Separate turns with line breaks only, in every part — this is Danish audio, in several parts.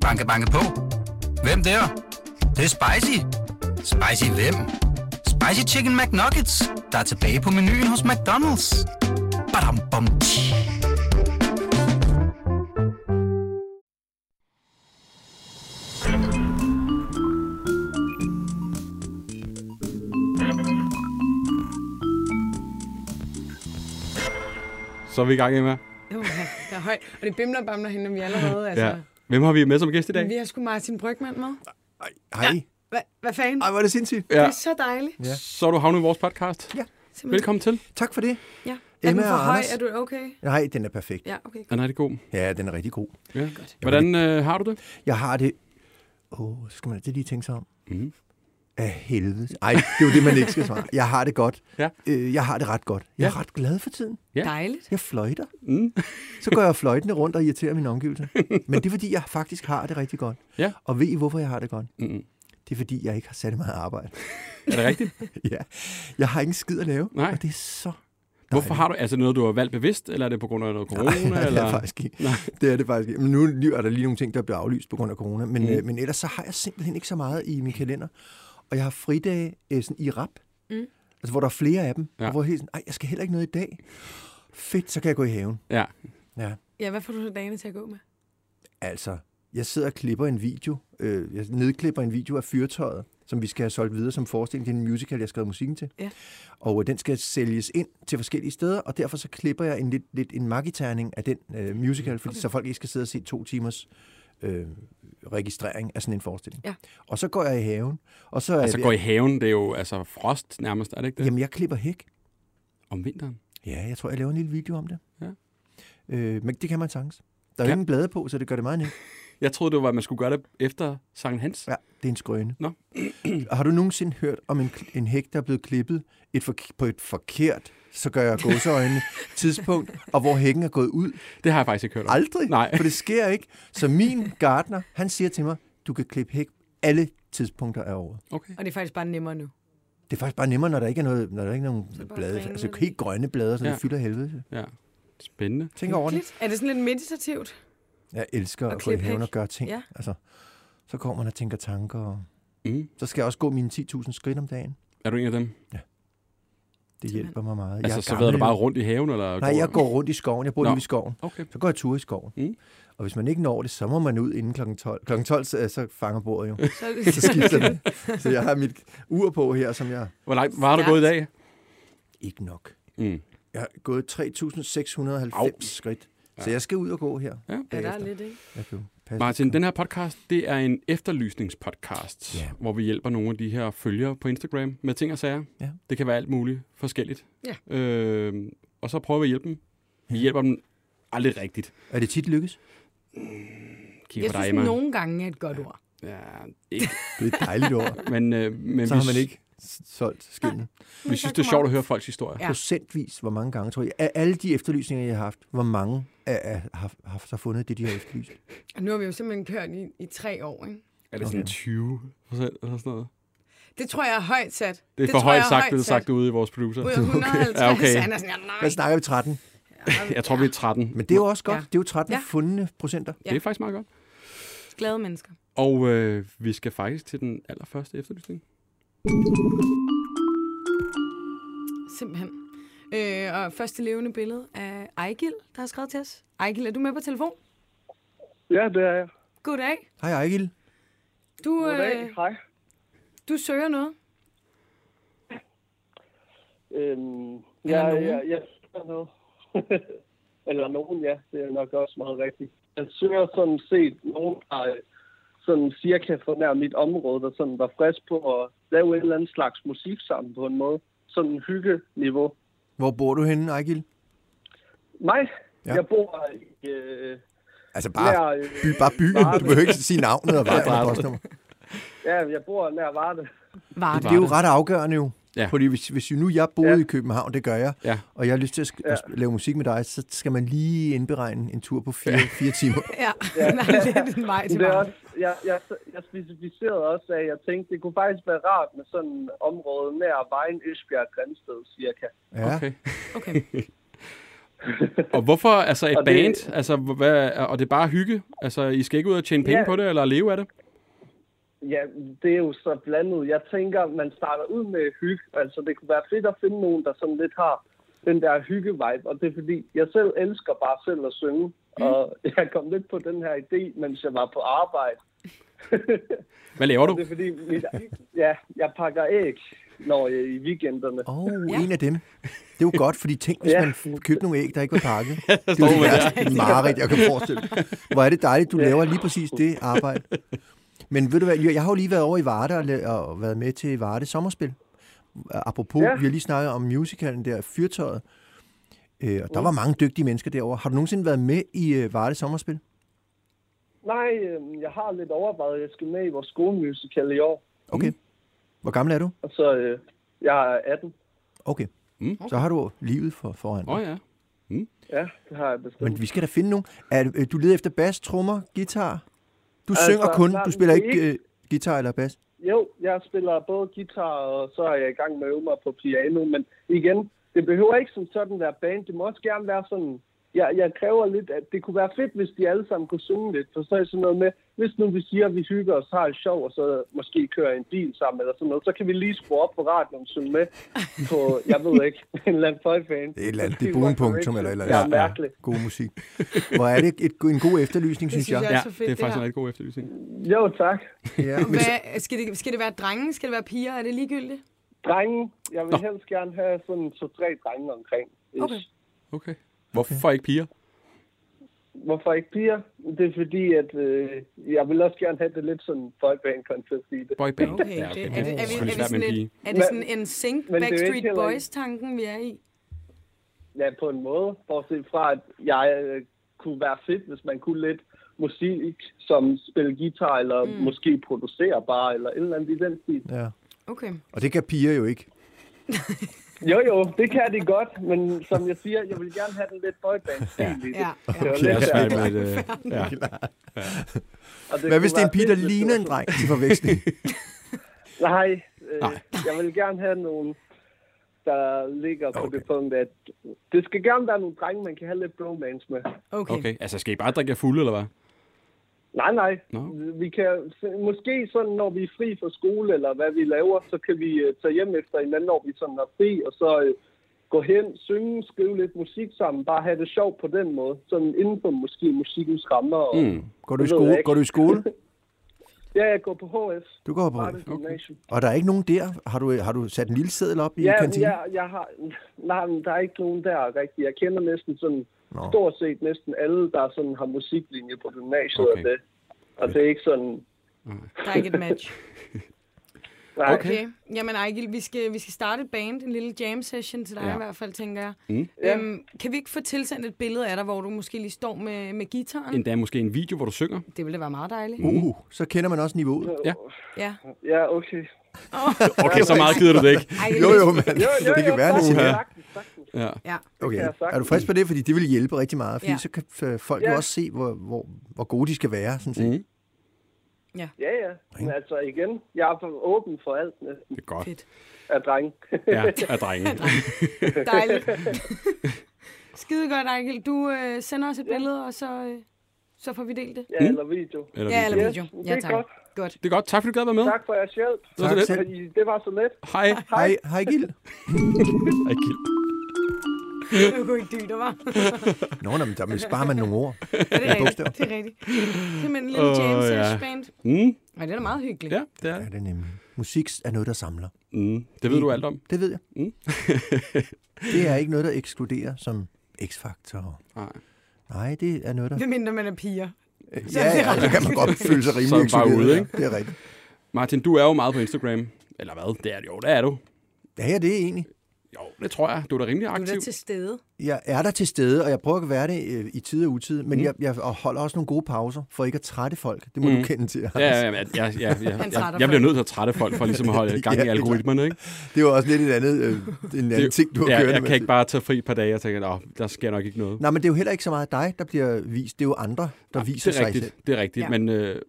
Banke, banke på. Hvem der? Det, er? det er spicy. Spicy hvem? Spicy Chicken McNuggets, der er tilbage på menuen hos McDonald's. Badum, bom, tji.
Så er vi i gang, Emma.
Uh, der er højt. Og det bimler og bamler hende, når vi allerede. Altså.
Ja. Hvem har vi med som gæst i dag?
Vi har sgu Martin Brygman med.
Ej, hej.
Hva, hvad fanden?
Ej, hvor er det sindssygt.
Det
Ja.
er så dejligt.
Ja.
Så er du havnet i vores podcast.
Ja.
Simpelthen.
Velkommen til.
Tak for det.
Ja. Er
Emma
du for
og
høj?
Anders.
Er du okay?
Nej, den er perfekt.
Ja, okay.
Den er rigtig god.
Ja, den er rigtig god.
Ja. Hvordan øh, har du det?
Jeg har det... Åh, oh, skal man altid lige tænke sig om? Mm.
Mhm.
Af helvede. Ej, det er jo det, man ikke skal svare. Jeg har det godt.
Ja.
Øh, jeg har det ret godt. Jeg er
Ja.
ret glad for tiden.
Ja.
Dejligt.
Jeg fløjter.
Mm.
Så går jeg fløjtende rundt og irriterer mine omgivelser. Men det er, fordi jeg faktisk har det rigtig godt.
Ja.
Og ved I, hvorfor jeg har det godt?
Mm.
Det er, fordi jeg ikke har særlig meget arbejde.
Er det rigtigt?
ja. Jeg har ikke en skid at lave,
Nej.
og det er så
Hvorfor har du altså noget, du har valgt bevidst, eller er det på grund af noget corona?
Nej, nej, det
eller?
er faktisk ikke. Det er det faktisk ikke. Men nu lige- er der lige nogle ting, der bliver aflyst på grund af corona. Men, mm. øh, men ellers så har jeg simpelthen ikke så meget i min kalender. Og jeg har fridage øh, sådan i rap. Mm. Altså, hvor der er flere af dem.
Ja.
Ja. Og hvor jeg helt sådan, Ej, jeg skal heller ikke noget i dag. Fedt, så kan jeg gå i haven.
Ja.
Ja.
Ja, hvad får du så dagene til at gå med?
Altså, jeg sidder og klipper en video. Øh, jeg nedklipper en video af Fyrtøjet, som vi skal have solgt videre som forestilling. Det er en musical, jeg har skrevet musikken til.
Ja.
Og øh, den skal sælges ind til forskellige steder, og derfor så klipper jeg en lidt, lidt en magiterning af den øh, musical, fordi, okay. så folk ikke skal sidde og se to timers øh, registrering af sådan en forestilling.
Ja.
Og så går jeg i haven, og så er
Altså
jeg,
går i haven, det er jo altså frost nærmest, er det ikke det?
Jamen, jeg klipper hæk.
Om vinteren.
Ja, jeg tror, jeg laver en lille video om det.
Ja.
Øh, men det kan man sagtens. Der er
Ja.
jo ingen blade på, så det gør det meget nemt.
Jeg troede, det var, at man skulle gøre det efter Sankt Hans.
Ja, det er en skrøne.
Nå.
Har du nogensinde hørt om en, en hæk, der er blevet klippet et for, på et forkert, så gør jeg gåseøjne, tidspunkt, og hvor hækken er gået ud?
Det har jeg faktisk ikke hørt om.
Aldrig,
Nej.
for det sker ikke. Så min gartner, han siger til mig, du kan klippe hæk alle tidspunkter af året.
Okay.
Og det er faktisk bare nemmere nu.
Det er faktisk bare nemmere, når der ikke er, noget, når der ikke er nogen
bare
blade.
ringe
Altså
lige.
helt grønne blader, så ja.
Ja.
det fylder helvede.
Ja. Spændende.
Tænk over det.
Er det sådan lidt meditativt?
Jeg elsker
Og
at gå i
klippe
haven
hæk.
og gøre ting.
Ja.
Altså, så kommer man og tænker tanker. Og...
Mm.
Så skal jeg også gå mine 10.000 skridt om dagen.
Er du en af dem?
Det
Simpelthen.
hjælper mig meget. Jeg
Altså,
er
så ved du
gammel.
bare rundt i haven? Eller
Nej, jeg går rundt i skoven. Jeg bor
Nå.
ude i skoven.
Okay.
Så går jeg tur i skoven.
Mm.
Mm. Og hvis man ikke når det, så må man ud inden kl. 12. Kl. 12, så, så fanger bordet jo.
Så, er det,
Så skifter det. Så jeg har mit ur på her, som jeg...
Hvor langt var du gået i dag?
Ikke nok.
Mm.
Jeg har gået 3.690 skridt. Så jeg skal ud og gå her.
Ja. Ja, der er
ja, der
bagefter.
er lidt, ikke?
Jeg kan jo passe
Martin,
lidt.
den her podcast, det er en efterlysningspodcast,
Ja.
hvor vi hjælper nogle af de her følgere på Instagram med ting og sager.
Ja.
Det kan være alt muligt forskelligt.
Ja.
Øh, og så prøver vi at hjælpe dem. Vi hjælper dem aldrig rigtigt.
Er det tit lykkes?
Kigger
Jeg
på dig,
synes,
Emma.
nogle gange er et godt ord.
Ja, ikke.
Det er et dejligt ord.
Men, øh, men
Så
vi
har man
s-
ikke s- solgt skinnet.
Vi synes, det er sjovt at høre folks historier.
Ja.
Ja. Procentvis, hvor mange gange, tror jeg. Af alle de efterlysninger, jeg har haft, hvor mange er, er, har, har, har fundet det, de har efterlyst?
Og nu har vi jo simpelthen kørt i, i tre år, ikke?
Er det sådan 20 procent eller sådan noget?
Det tror jeg er højt sat.
Det er for højt sagt, det
det
er sagt ude i vores producer.
Ud af 150,
Ja,
ja,
okay.
okay. han er sådan, ja, nej.
Hvad snakker vi? 13?
Jeg tror, vi er 13.
Men det er jo også godt.
Ja.
Det er jo 13
Ja.
fundne procenter.
Det er faktisk meget godt.
Glade mennesker.
Og øh, vi skal faktisk til den allerførste efterlysning.
Simpelthen. Øh, og første levende billede af Ejgil, der har skrevet til os. Ejgil, er du med på telefon?
Ja, det er jeg.
Goddag.
Hej Ejgil.
Du,
Goddag,
øh,
hej.
du søger noget.
Øhm,
Eller
ja,
nogen.
ja, ja, ja, Eller nogen, ja. Det er nok også meget rigtigt. Jeg søger sådan set nogen, der øh, sådan cirka fornær mit område, der sådan var frisk på at lave en eller anden slags musik sammen på en måde. Sådan en hyggeniveau.
Hvor bor du henne, Ejgil?
Mig,
Ja.
ja. jeg bor i... Øh,
Altså
nær,
bare,
øh,
by, bare byen.
Varde.
Du behøver ikke sige navnet og vejen og
Varde.
postnummer.
ja, jeg bor nær Varde.
Var
Det er jo ret afgørende jo.
Ja.
Ja. Fordi hvis, hvis nu jeg boede
Ja.
i København, det gør jeg,
Ja.
og jeg har lyst til at, sk- at
Ja.
lave musik med dig, så skal man lige indberegne en tur på fire, fire timer.
Ja, nej, det er din vej til
Det er
Varde.
også, jeg, jeg, jeg specificerede også, at jeg tænkte, det kunne faktisk være rart med sådan et område nær vejen Østbjerg Grænsted, cirka.
Ja.
Okay.
Okay.
Og hvorfor altså et
Og det-
band? Altså, hvad, og det er bare hygge? Altså, I skal ikke ud og tjene penge
Ja.
på det, eller leve af det?
Ja, det er jo så blandet. Jeg tænker, man starter ud med hygge. Altså, det kunne være fedt at finde nogen, der sådan lidt har den der hygge-vibe. Og det er fordi, jeg selv elsker bare selv at synge. Mm. Og jeg kom lidt på den her idé, mens jeg var på arbejde.
Hvad laver
Det
du?
er fordi, mit, ja, jeg pakker æg, når jeg er i weekenderne.
Åh, oh,
Ja.
ja. en af dem. Det er jo godt, fordi tænk, hvis
Ja.
man købte nogle æg, der ikke var pakket. det er
står
jo det
man der.
værste mareridt, jeg kan forestille mig. Hvor er det dejligt, du laver lige præcis det arbejde. Men ved du hvad, Lyra, jeg har jo lige været over i Varde og, la- og været med til Varde Sommerspil. Apropos,
Ja.
ja. vi har lige snakket om musicalen der, Fyrtøjet. Øh, og der var mange dygtige mennesker derovre. Har du nogensinde været med i øh, Varde Sommerspil?
Nej, øhm, jeg har lidt overvejet, at jeg skal med i vores skolemusical i år.
Okay. Mm. Hvor gammel er du?
Og så, øh, jeg er 18.
Okay.
Mm.
Mm. Så har du livet for, foran dig.
Åh oh, ja.
Ja, det har jeg bestemt.
Men vi skal da finde nogen. Er, øh, du leder efter bas, trommer, guitar. Du
Altså,
altså, synger kun,
nej,
du spiller
det er
ikke øh, guitar eller bas.
Jo, jeg spiller både guitar, og så er jeg i gang med at øve mig på piano. Men igen, det behøver ikke som sådan være band. Det må også gerne være sådan... Jeg, jeg kræver lidt, at det kunne være fedt, hvis de alle sammen kunne synge lidt. For så er det sådan noget med, hvis nu vi siger, at vi hygger os, har det sjov, og så måske kører en bil sammen eller sådan noget, så kan vi lige skrue op på radioen og synge med på, jeg ved ikke, en eller anden føjfan.
Det er et eller andet, det er bogenpunktum eller et eller andet.
Ja, altså mærkeligt.
God musik. Hvor er det et, en god efterlysning, synes
synes
jeg.
jeg.
jeg.
er
Ja,
så fedt,
det er
det
faktisk en
her.
rigtig god efterlysning.
Jo, tak.
Ja, men så,
Hvad, skal, det, skal det være drenge? Skal det være piger? Er det ligegyldigt?
Drenge, jeg vil helst gerne have sådan to-tre drenge omkring.
Okay.
Okay. Hvorfor ikke piger?
Hvorfor ikke piger? Det er fordi, at øh, jeg vil også gerne have det lidt sådan boyband-koncept i det.
Boyband?
Okay,
ja,
det, er,
okay.
det, er, det, er, vi,
selvfølgelig
er, vi
svært
sådan
med en
lidt,
pige.
er det
Men-
sådan en sink
men det er jo ikke
Backstreet
heller ikke-
Boys-tanken, vi er i?
Ja, på en måde. Bortset fra, at jeg øh, kunne være fedt, hvis man kunne lidt musik, som spille guitar, eller mm. måske producere bare, eller et eller andet i den stil.
ja.
Okay.
Og det kan piger jo ikke.
Jo, jo, det kan det godt, men som jeg siger, jeg vil gerne have den lidt boyband-stil i det.
Ja, ja.
Det var
Okay,
Det
lidt
er
der.
svært med et... øh, Ja.
Og det
Hvad hvis det er en
kunne være
pige,
fedt,
der
hvis det
ligner
var
en dreng til forveksling?
Nej, øh, Nej, jeg vil gerne have nogle, der ligger okay. på
Okay.
det punkt, at det skal gerne være nogle drenge, man kan have lidt bromance med.
Okay. okay.
Okay, altså skal I bare drikke jer fulde, eller hvad?
Mm.
Nej, nej.
Nå.
Vi kan, måske sådan, når vi er fri fra skole, eller hvad vi laver, så kan vi øh, tage hjem efter hinanden, når vi sådan er fri, og så øh, gå hen, synge, skrive lidt musik sammen, bare have det sjovt på den måde, sådan inden for måske musikkens rammer. Og, mm.
Går du, i
Det ved jeg
skole?
ikke.
Går du i skole?
Ja, jeg går på HF.
Du går på.
Varde Gymnasium.
Og der er ikke nogen der? Har du, har du sat en lille seddel op i
Ja,
kantinen?
ja, jeg har, nej, men der er ikke nogen der rigtig. Jeg kender næsten sådan,
Nå.
Nå. stort set næsten alle, der sådan har musiklinje på gymnasiet okay.
Okay.
og det. Og det er ikke sådan,
Der er ikke et match.
nej, okay.
Okay. Jamen, Ejgil, vi skal, vi skal starte et band, en lille jam session til dig
Ja.
ja. i hvert fald, tænker jeg. Mm. Øhm, kan vi ikke få tilsendt et billede af dig, hvor du måske lige står med, med gitaren? En.
Endda måske en video, hvor du synger.
Det ville da være meget dejligt.
Uh, så kender man også niveauet.
Ja.
ja, okay.
Okay, så meget gider du det ikke.
Ej,
Jo, jo, mand.
Jo, jo,
Det kan
jo,
være, det
sagtens,
skal.
sagtens, sagtens.
Ja.
Ja.
Okay.
kan jeg sagtens.
Er du frisk på det? Fordi det vil hjælpe rigtig meget. Fordi
Ja.
så kan øh, folk
Ja.
jo også se, hvor, hvor, hvor gode de skal være. Sådan set.
Mm.
Ja, ja. Men altså igen, jeg er for åben for alt næsten
Det er godt.
Fedt.
af drenge.
Ja, af drenge.
Dejligt. Skide godt, Ejgil. Du øh, sender os et billede, og så, øh, så får vi delt det.
ja, eller video.
Eller
Ja,
video.
eller video.
det
Ja,
er
tak.
godt.
Godt.
Det er godt. Tak fordi du gad at være med.
Tak for jeres hjælp.
Det var så
Tak
lidt.
selv.
Fordi Det var så let.
Hej.
Hej, hej Gil.
Ej, Kjeld.
Det var ikke dybt, var.
Nå, nå, men der sparer man nogle ord.
Ja, det er rigtigt. Det er rigtigt. Simpelthen en lille
Åh,
jam
ja.
session band.
Mm.
Ej, det er da meget hyggeligt.
Ja, det er
Ja,
det.
det er nemlig. Musik er noget, der samler.
Mm. Det ved du alt om.
Det ved jeg.
Mm.
det er ikke noget, der ekskluderer som x-faktor.
Nej.
Nej, det er noget, der...
Det mindre man er piger.
Ja, ja, så kan man godt føle sig
Så er
rimelig
man bare
ekskluderet.
ude, ikke?
Det er rigtigt.
Martin, du er jo meget på Instagram. Eller hvad? Det er det. Jo, det er du.
Ja, ja, det er egentlig.
Jo, det tror jeg. Du er da rimelig
Du er da
aktiv.
til stede.
Jeg er der til stede, og jeg prøver at være det øh, i tid og utid, men mm. jeg, jeg holder også nogle gode pauser, for ikke at trætte folk. Det må mm. du kende til.
Ja, ja, ja, ja, ja, ja.
Han
Jeg,
trætter
jeg bliver
folk.
nødt til at trætte folk for ligesom at holde gang
Ja,
i
det er
algoritmerne, ikke?
Det var også lidt et andet, øh, en anden ting, du har
ja,
kørt
jeg kan ikke bare tage fri et par dage og tænke, at der sker nok ikke noget.
Nej, men det er jo heller ikke så meget dig, der bliver vist. Det er jo andre, der
Ja,
viser
det er
sig
rigtigt,
selv.
Det er rigtigt,
Ja.
men øh,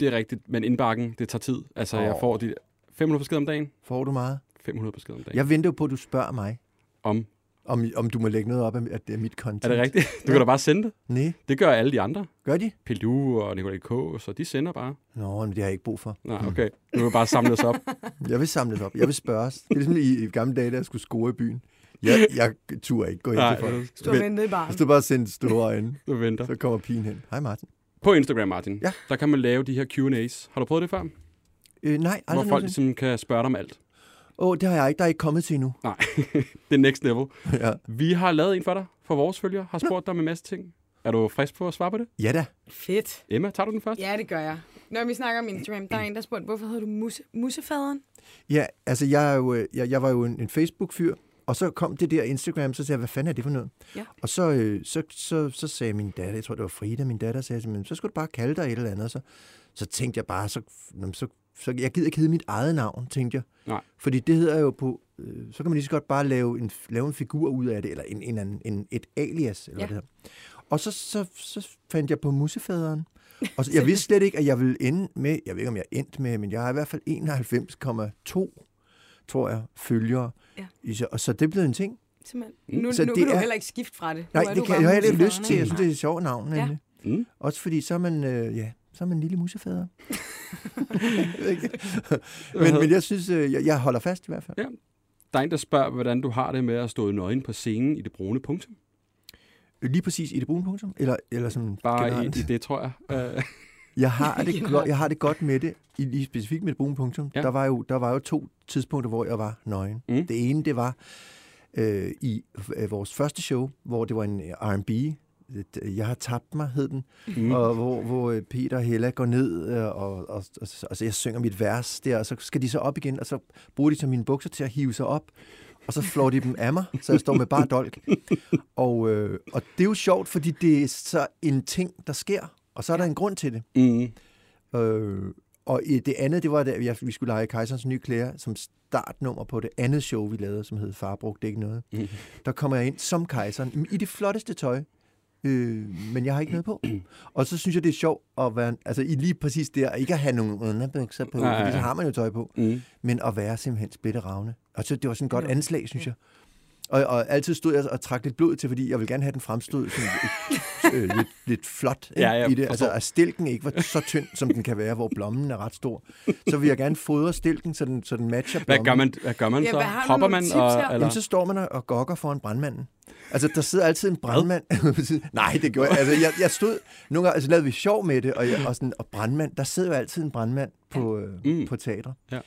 det er rigtigt, men indbakken, det tager tid. Altså, oh. jeg
Åh.
får de 500 beskeder om dagen.
Får du meget?
500 beskeder om dagen.
Jeg venter jo på, at du spørger mig.
Om
Om, om du må lægge noget op af at det er mit
Er
content.
det rigtigt? Du kan da bare sende det.
Nej,
Det gør alle de andre.
gør de?
Pelu og Nicolai K. Så de sender bare.
Nå, men det har jeg ikke brug for.
Nej, okay. Nu kan vi bare samle os op.
Jeg vil samle det op. Jeg vil spørge os. Det er ligesom i, i gamle dage, da jeg skulle score i byen. Jeg, jeg turde ikke gå ind
Nej,
til folk.
Stå og
Men-
vente i
Jeg
baren.
stod bare og sendte store øjne.
du venter.
Så kommer pigen hen. Hej Martin.
På Instagram, Martin,
Ja.
der kan man lave de her Q&A's. Har du prøvet det før?
Øh, nej,
Hvor
aldrig
folk
nogensinde.
ligesom kan spørge dig om alt.
Åh, oh, det har jeg ikke. Der er ikke kommet til endnu.
Nej, det er next level.
ja.
Vi har lavet en for dig, for vores følgere. Har spurgt dig med en masse ting. Er du frisk på at svare på det?
ja da.
Fedt.
Emma, tager du den først?
Ja, det gør jeg. Når vi snakker om Instagram, der er en, der spurgte, hvorfor hedder du musse, mussefaderen?
Ja, altså jeg, er jo, øh, jeg, jeg var jo en, en Facebook-fyr, og så kom det der Instagram, så sagde jeg, hvad fanden er det for noget?
Ja.
Og så, øh, så, så, så sagde min datter, jeg tror det var Frida, min datter, sagde, men så skulle du bare kalde dig et eller andet. Og Så, så tænkte jeg bare, så, nå, men så, så jeg gider ikke hedde mit eget navn, tænkte jeg.
Nej.
Fordi det hedder jo på, øh, så kan man lige så godt bare lave en, lave en figur ud af det, eller en, en, eller anden, en et alias, eller
Ja.
ja. det her. Og så, så, så fandt jeg på mussefaderen. Og så, jeg vidste slet ikke, at jeg ville ende med, jeg ved ikke, om jeg endte med, men jeg har i hvert fald 91,2, tror jeg, følgere.
Ja.
I så- Og så det blev en ting.
Simpelthen. Nu,
Mm. Så
nu
det
kan du
er-
heller ikke skifte fra det.
Nej,
nu er
det
du
kan
bare
jeg har heller ikke
mussefaderen,
lyst til. Jeg synes, det er et sjovt navn.
Ja.
Ja.
Mm.
Også fordi så er man, øh, ja, så er man en lille musefader. Jeg ved ikke. men, men jeg synes, øh, jeg, jeg holder fast i hvert fald.
Der er en, der spørger, hvordan du har det med at stå i nøgen på scenen i det brune punktum.
Lige præcis i det brune punktum, eller, eller sådan
Bare i,
generelt.
i, det, tror jeg. Øh,
Jeg har, det
Generelt.
godt, jeg har det godt med det, i, lige specifikt med det brune punktum.
Ja.
Ja. Der, var jo, der var jo to tidspunkter, hvor jeg var nøgen.
Mm.
Mm. Det ene, det var øh, i øh, vores første show, hvor det var en øh, R&B. øh, Jeg har tabt mig, hed den.
Mm.
Mm. Og hvor, hvor øh, Peter og Hella går ned, øh, og, og, og, og så jeg synger mit vers der, og så skal de så op igen, og så bruger de så mine bukser til at hive sig op. Og så flår de dem af mig, så jeg står med bare dolk. Og, øh, og det er jo sjovt, fordi det er så en ting, der sker. Og så er der en grund til det.
mm.
Øh, og i det andet, det var, at jeg, vi skulle lege Kejserens Nye Klæder som startnummer på det andet show, vi lavede, som hed Far brugte ikke noget.
Mhm.
Der kommer jeg ind som kejseren, i det flotteste tøj, øh, men jeg har ikke noget på. Og så synes jeg, det er sjovt at være, altså i lige præcis der, ikke at have nogen underbukser på,
Nej,
fordi så
ja.
har man jo tøj på,
Mm.
men at være simpelthen splitteravne. Og så det var sådan et godt anslag, synes jeg. Og, og altid stod jeg og trak lidt blod til, fordi jeg ville gerne have den fremstod sådan øh, lidt, lidt flot ikke,
Ja, ja,
i det. Altså,
forstår.
at stilken ikke var så tynd, som den kan være, hvor blommen er ret stor. Så vil jeg gerne fodre stilken, så den, så den matcher blommen.
Hvad gør man, hvad gør man
Ja,
så?
hvad har du
Hopper
nogle
man?
tips her?
Og,
Eller?
eller?
Jamen, så står man og- og gokker foran brandmanden. Altså, der sidder altid en brandmand. ved siden- Nej, det gjorde jeg. Altså, jeg, jeg stod... Nogle gange altså, lavede vi sjov med det, og, jeg, og, sådan, og brandmand... Der sidder jo altid en brandmand på, øh,
Mm.
mm. på teatret.
Ja.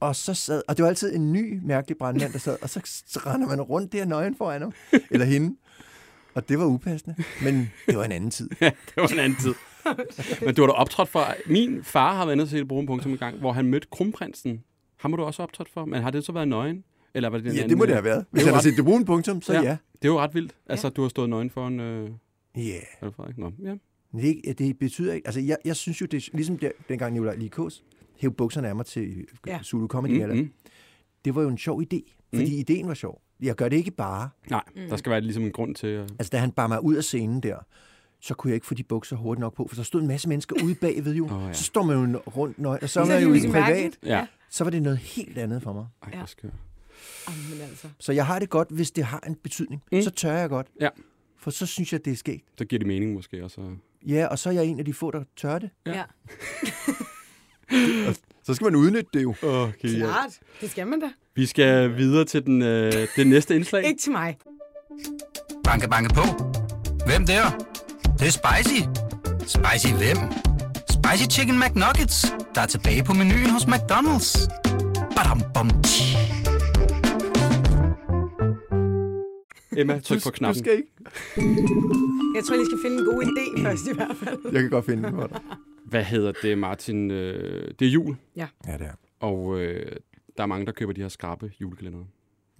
Og så sad... Og det var altid en ny, mærkelig brandmand, der sad. Og så s- render man rundt der nøgen foran ham. Eller hende. Og det var upassende. Men det var en anden tid.
det var en anden tid. Men du har da optrådt for... Min far har været nede til et brune punktum en gang, hvor han mødte kronprinsen. Ham har du også optrådt for, men har det så været nøgen? Eller var det den
Ja,
anden?
det må det have været. Hvis
Det
han
var
har set det brune punktum, så
Ja.
ja. Ja.
Det er jo ret vildt. Altså, du har stået nøgen foran øh,
Yeah.
Palle Frederik. Nå, ja.
Men Det, er ikke- det betyder ikke... Altså, jeg, jeg synes jo, det er ligesom der, dengang Nicolaj Likos hævde bukserne af mig til
Ja.
ja. Zulu Comedy mm,
Mm,
mm.
mm.
Det var jo en sjov idé, fordi mm. ideen var sjov. Jeg gør det ikke bare.
Nej,
Mm.
der skal være ligesom en grund til... Øh,
Altså, da han bar mig ud af scenen der, så kunne jeg ikke få de bukser hurtigt nok på, for der stod en masse mennesker ude bagved jo.
Åh, ja.
Så står man jo n- rundt nøj, og så er
Så er
man
det
jo i
ligesom
privat.
mærkeligt.
ja.
Så var det noget helt andet for mig.
Ej,
Ja.
hvor skør.
Jamen altså.
Så jeg har det godt, hvis det har en betydning.
Mm.
Mm. Så tør jeg godt.
Ja.
For så synes jeg, det er skægt.
Så giver det mening måske også.
Ja, og så er jeg en af de få, der tør det.
Ja.
Ja. ja.
Så skal man udnytte det jo.
Okay,
Klart. Det skal man da.
Vi skal videre til den, øh, det næste indslag.
Ikke til mig.
Banke, banke på. Hvem der? Det, er spicy. Spicy hvem? Spicy Chicken McNuggets, der er tilbage på menuen hos McDonald's. Badum, bom, tji.
Emma, tryk på
Du
knappen.
skal ikke.
Jeg tror, jeg lige skal finde en god idé
Mm.
først i hvert fald.
Jeg kan godt finde den for dig.
Hvad hedder det, Martin? Øh, det er jul,
Ja, det er.
og øh, der er mange, der køber de her skarpe julekalender.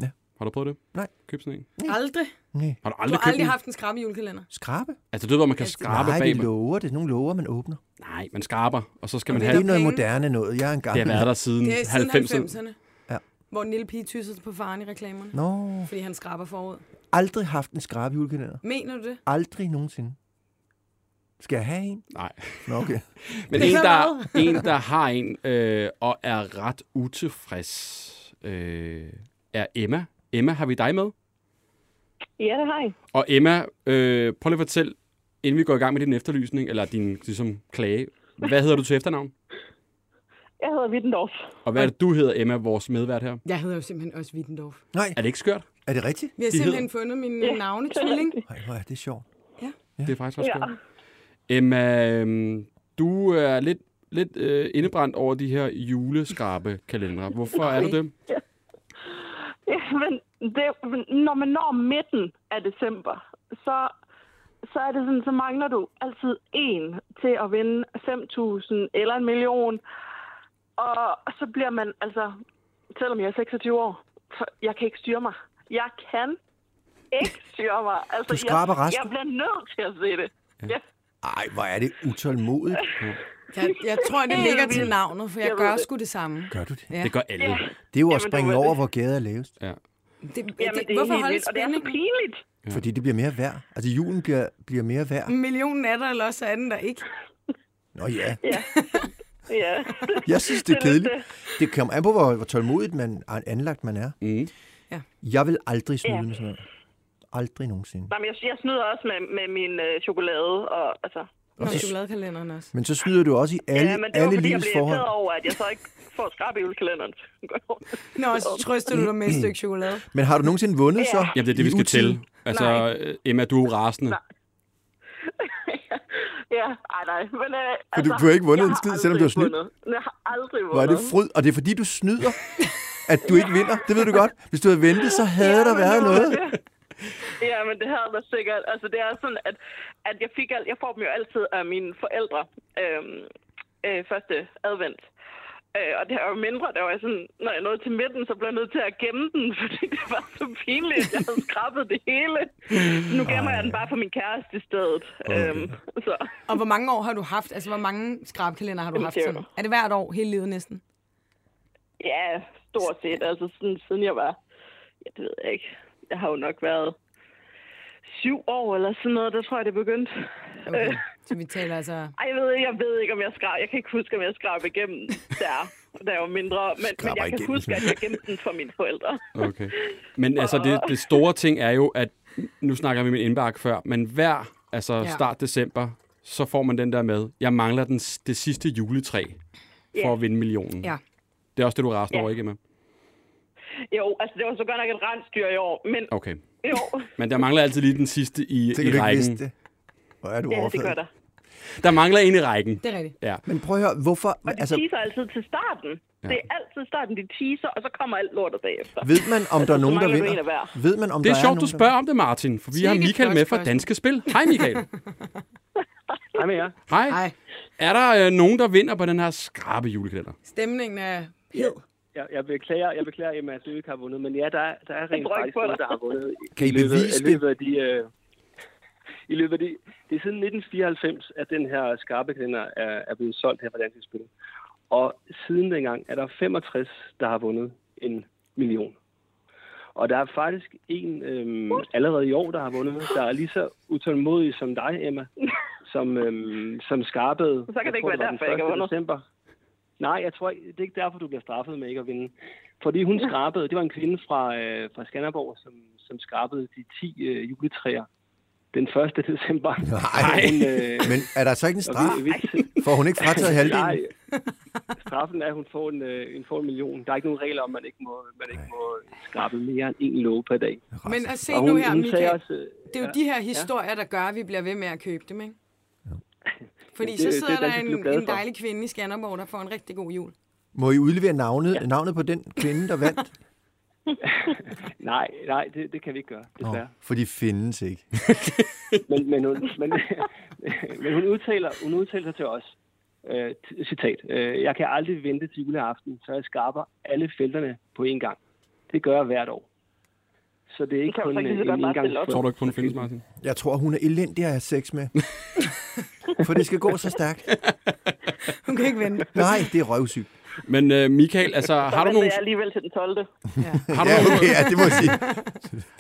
Ja.
Har du prøvet det?
Nej.
Køb sådan en.
Mm.
Aldrig.
Nej.
Har du
Du
aldrig
har
købt
aldrig
en?
haft en skrabe julekalender.
Skrabe?
Altså, du ved, hvor man kan
Altså,
skrabe
Nej,
bag...
det lover det. er Nogle lover, man åbner.
Nej, man skraber, og så skal man
Det
have...
er
Det
ikke noget
penge.
moderne noget. Jeg er en gammel.
har været der siden
Det er siden
90'erne.
90'erne.
Ja.
Hvor den lille pige tyssede på faren i reklamerne.
Nå,
Fordi han skraber forud.
aldrig haft en skrabe julekalender.
Mener du det?
Aldrig nogensinde. Skal jeg have en?
Nej.
Nå, okay.
Men
Det
en
kan
der, en, der har en øh, og er ret utilfreds, øh, er Emma. Emma, har vi dig med?
Ja, det har jeg.
Og Emma, øh, prøv lige at fortælle, inden vi går i gang med din efterlysning, eller din ligesom, klage, hvad hedder du til efternavn?
Jeg hedder Wittendorf.
Og hvad er det, du hedder, Emma, vores medvært her?
Jeg hedder jo simpelthen også Wittendorf.
Nej,
Er det ikke skørt?
er det rigtigt?
Vi har
De
simpelthen fundet min ja,
Ja,
navne,
det er
tvilling.
rigtigt.
Nej, hvor er det sjovt.
Ja. Det er faktisk også
Ja.
skørt. Emma, øhm, du er lidt, lidt øh, indebrændt over de her juleskarpe kalendere. Hvorfor er du det?
Ja, men det, når man når midten af december, så, så er det sådan, så mangler du altid en til at vinde 5.000 eller en million. Og så bliver man, altså, selvom jeg er 26 år, så jeg kan ikke styre mig. Jeg kan ikke styre mig. Altså,
Du skraber
jeg,
resten.
jeg bliver nødt til at se det. Ja.
Ej, hvor er det utålmodigt.
Jeg, jeg tror, det
Helt
ligger til
vildt.
navnet, for jeg,
Jeg ved
gør
det.
sgu det samme.
Gør du det?
Ja.
Det gør alle.
Ja.
Det er jo at
Jamen,
springe
det var
over,
det.
hvor gaden er lavest.
Det, det,
Jamen, det er
hvorfor
helt
holde
vildt, og det er så
spændingen?
pinligt.
Ja. Fordi det bliver mere værd. Altså, julen bliver, bliver mere værd.
En million er der, eller også er den der ikke.
Nå ja,
Ja. ja.
jeg synes, det er
Det er lidt
kedeligt. Det kommer an på, hvor, hvor tålmodigt man an- anlagt man er.
Mm.
Ja.
Jeg vil aldrig snyde
Ja.
med sådan noget. Aldrig nogensinde.
Nej, men jeg, jeg snyder også med, med min øh, chokolade. Og, altså,
Nå,
så-
chokoladekalenderen også.
Men så snyder du også i alle,
ja, men det var,
alle
fordi jeg
livets
blev
forhold.
irriteret over, at jeg så ikke får skrab i julekalenderen.
Nå, så trøster du dig med et stykke chokolade.
Men har du nogensinde vundet så?
Jamen, det er det, vi
I
skal
utide?
til. Altså, øh, Emma, du er jo rasende.
ja, ej nej. Men, øh,
du- du har ikke vundet
jeg
en
har
skid, selvom du har
aldrig
snydt.
vundet. Jeg har aldrig vundet.
Hvor er det fryd, og det er fordi, du snyder, at du ikke vinder. Det ved du godt. Hvis du havde ventet, så havde
Ja,
der
men
været
det var
noget.
det. Ja, men det havde der sikkert. Altså, det er sådan, at, at jeg, fik, al- jeg får dem jo altid af mine forældre øhm, øh, første advent. Øh, og det her var mindre, der var jeg sådan, når jeg nåede til midten, så blev jeg nødt til at gemme den, fordi det var så pinligt. Jeg havde skrabet det hele. Nu gemmer jeg den bare for min kæreste i stedet. Øhm, så
Og hvor mange år har du haft? Altså, hvor mange skrabkalender har du
Jamen,
haft
det er
sådan?
jo-
Er det hvert år, hele livet næsten?
ja, stort set. Altså, sådan, siden jeg var, ja, det ved jeg ikke, jeg har jo nok været syv år eller sådan noget, der tror jeg, det begyndte.
Okay. Så vi taler altså...
Ej, jeg ved, ikke- jeg ved ikke, om jeg skrab. Jeg kan ikke huske, om jeg skrab igennem der, da jeg var mindre. Men, men
Skraber
jeg kan
igennem.
huske, at jeg gemte den for mine forældre.
Okay. Men altså, det, det store ting er jo, at nu snakker vi med indbakke før, men hver altså
Ja.
start december, så får man den der med, jeg mangler den, s- det sidste juletræ for
Ja.
at vinde millionen.
Ja.
Det er også det, du er rasende
Ja.
over, ikke med?
Jo, altså det var så godt nok et rensdyr i år, men
Okay.
jo,
Men der mangler altid lige den sidste i,
Tænker
i
du ikke
rækken.
vidste det? Hvor er du
ja, det gør
overfladet.
der.
Der mangler en i rækken.
Det er rigtigt.
Ja.
Men prøv at høre, hvorfor...
Og de altså...
Altså,
teaser altid til starten. Ja. Det er altid starten, de teaser, og så kommer alt lortet bagefter.
ved man, om der er nogen, der
mangler du en af
vinder?
hver.
Ved man, om
Det
der
er sjovt,
nogen,
du
der-
spørger om det, Martin, for vi har
Sikke et
Michael
flot
med fra
spørgsmål.
Danske Spil. Hej, Michael.
Hej med jer.
Hej.
Ej,
Er der øh, nogen, der vinder på den her skrabe julekalender?
stemningen er hed.
Jeg, jeg beklager, jeg beklager Emma, at du ikke har vundet, men ja, der, er- der er rent
tror ikke
faktisk
på
nogen,
dig.
der har vundet. i-
Kan I
i løbet,
bevise
i løbet af de, øh, I løbet af de, det er siden 1994, at den her skarpe kalender er, er blevet solgt her fra Dansk Spil. Og siden dengang er der 65, der har vundet en million. Og der er faktisk en øhm, allerede i år, der har vundet, der er lige så utålmodig som dig, Emma, som, øhm, som skarpede.
Så kan det ikke være
var den
derfor, jeg ikke har
1.
vundet.
December. Nej, jeg tror ikke, det er ikke derfor, du bliver straffet med ikke at vinde. Fordi hun skrabede, det var en kvinde fra, øh, fra Skanderborg, som, som skrabede de 10 øh, juletræer den 1. december.
Nej,
Hun, øh,
men er der så ikke en straf?
og vi- vi-
Får hun ikke frataget halvdelen?
Nej. Altså, Straffen er, at hun får en, øh, en, får en million. Der er ikke nogen regler om, at man ikke må, man ikke må skrabe mere end en låge per dag.
Men at se
Og
nu
hun,
her,
hun sagde
Michael.
også, øh,
Det er jo de her historier, der gør, at vi bliver ved med at købe dem, ikke? Fordi
Jamen,
så
det-
sidder
det er
der
Danske Spil
en,
glade
en
for.
dejlig kvinde i Skanderborg, der får en rigtig god jul.
Må I udlevere navnet, navnet på den kvinde, der vandt?
nej, nej, det, det kan vi ikke gøre,
Nå,
desværre.
for de findes ikke.
Men, men, hun, men, men hun, udtaler, hun udtaler sig til os. Øh, t- citat. Øh, jeg kan aldrig vente til juleaften, så jeg skarper alle felterne på én gang. Det gør jeg hvert år. Så det er ikke
kan
kun øh,
man så ikke lige så godt
en
bare stille
engang.
op.
Tror du ikke på, den findes, Martin?
Jeg tror, hun er elendig at have sex med. For det skal gå så stærkt.
Hun kan ikke vente.
Nej, det er røvsygt.
Men øh, Michael, altså, har du
Men
nogle,
jeg alligevel til den 12.
har du
Ja,
nogle,
okay, ja, det må jeg sige.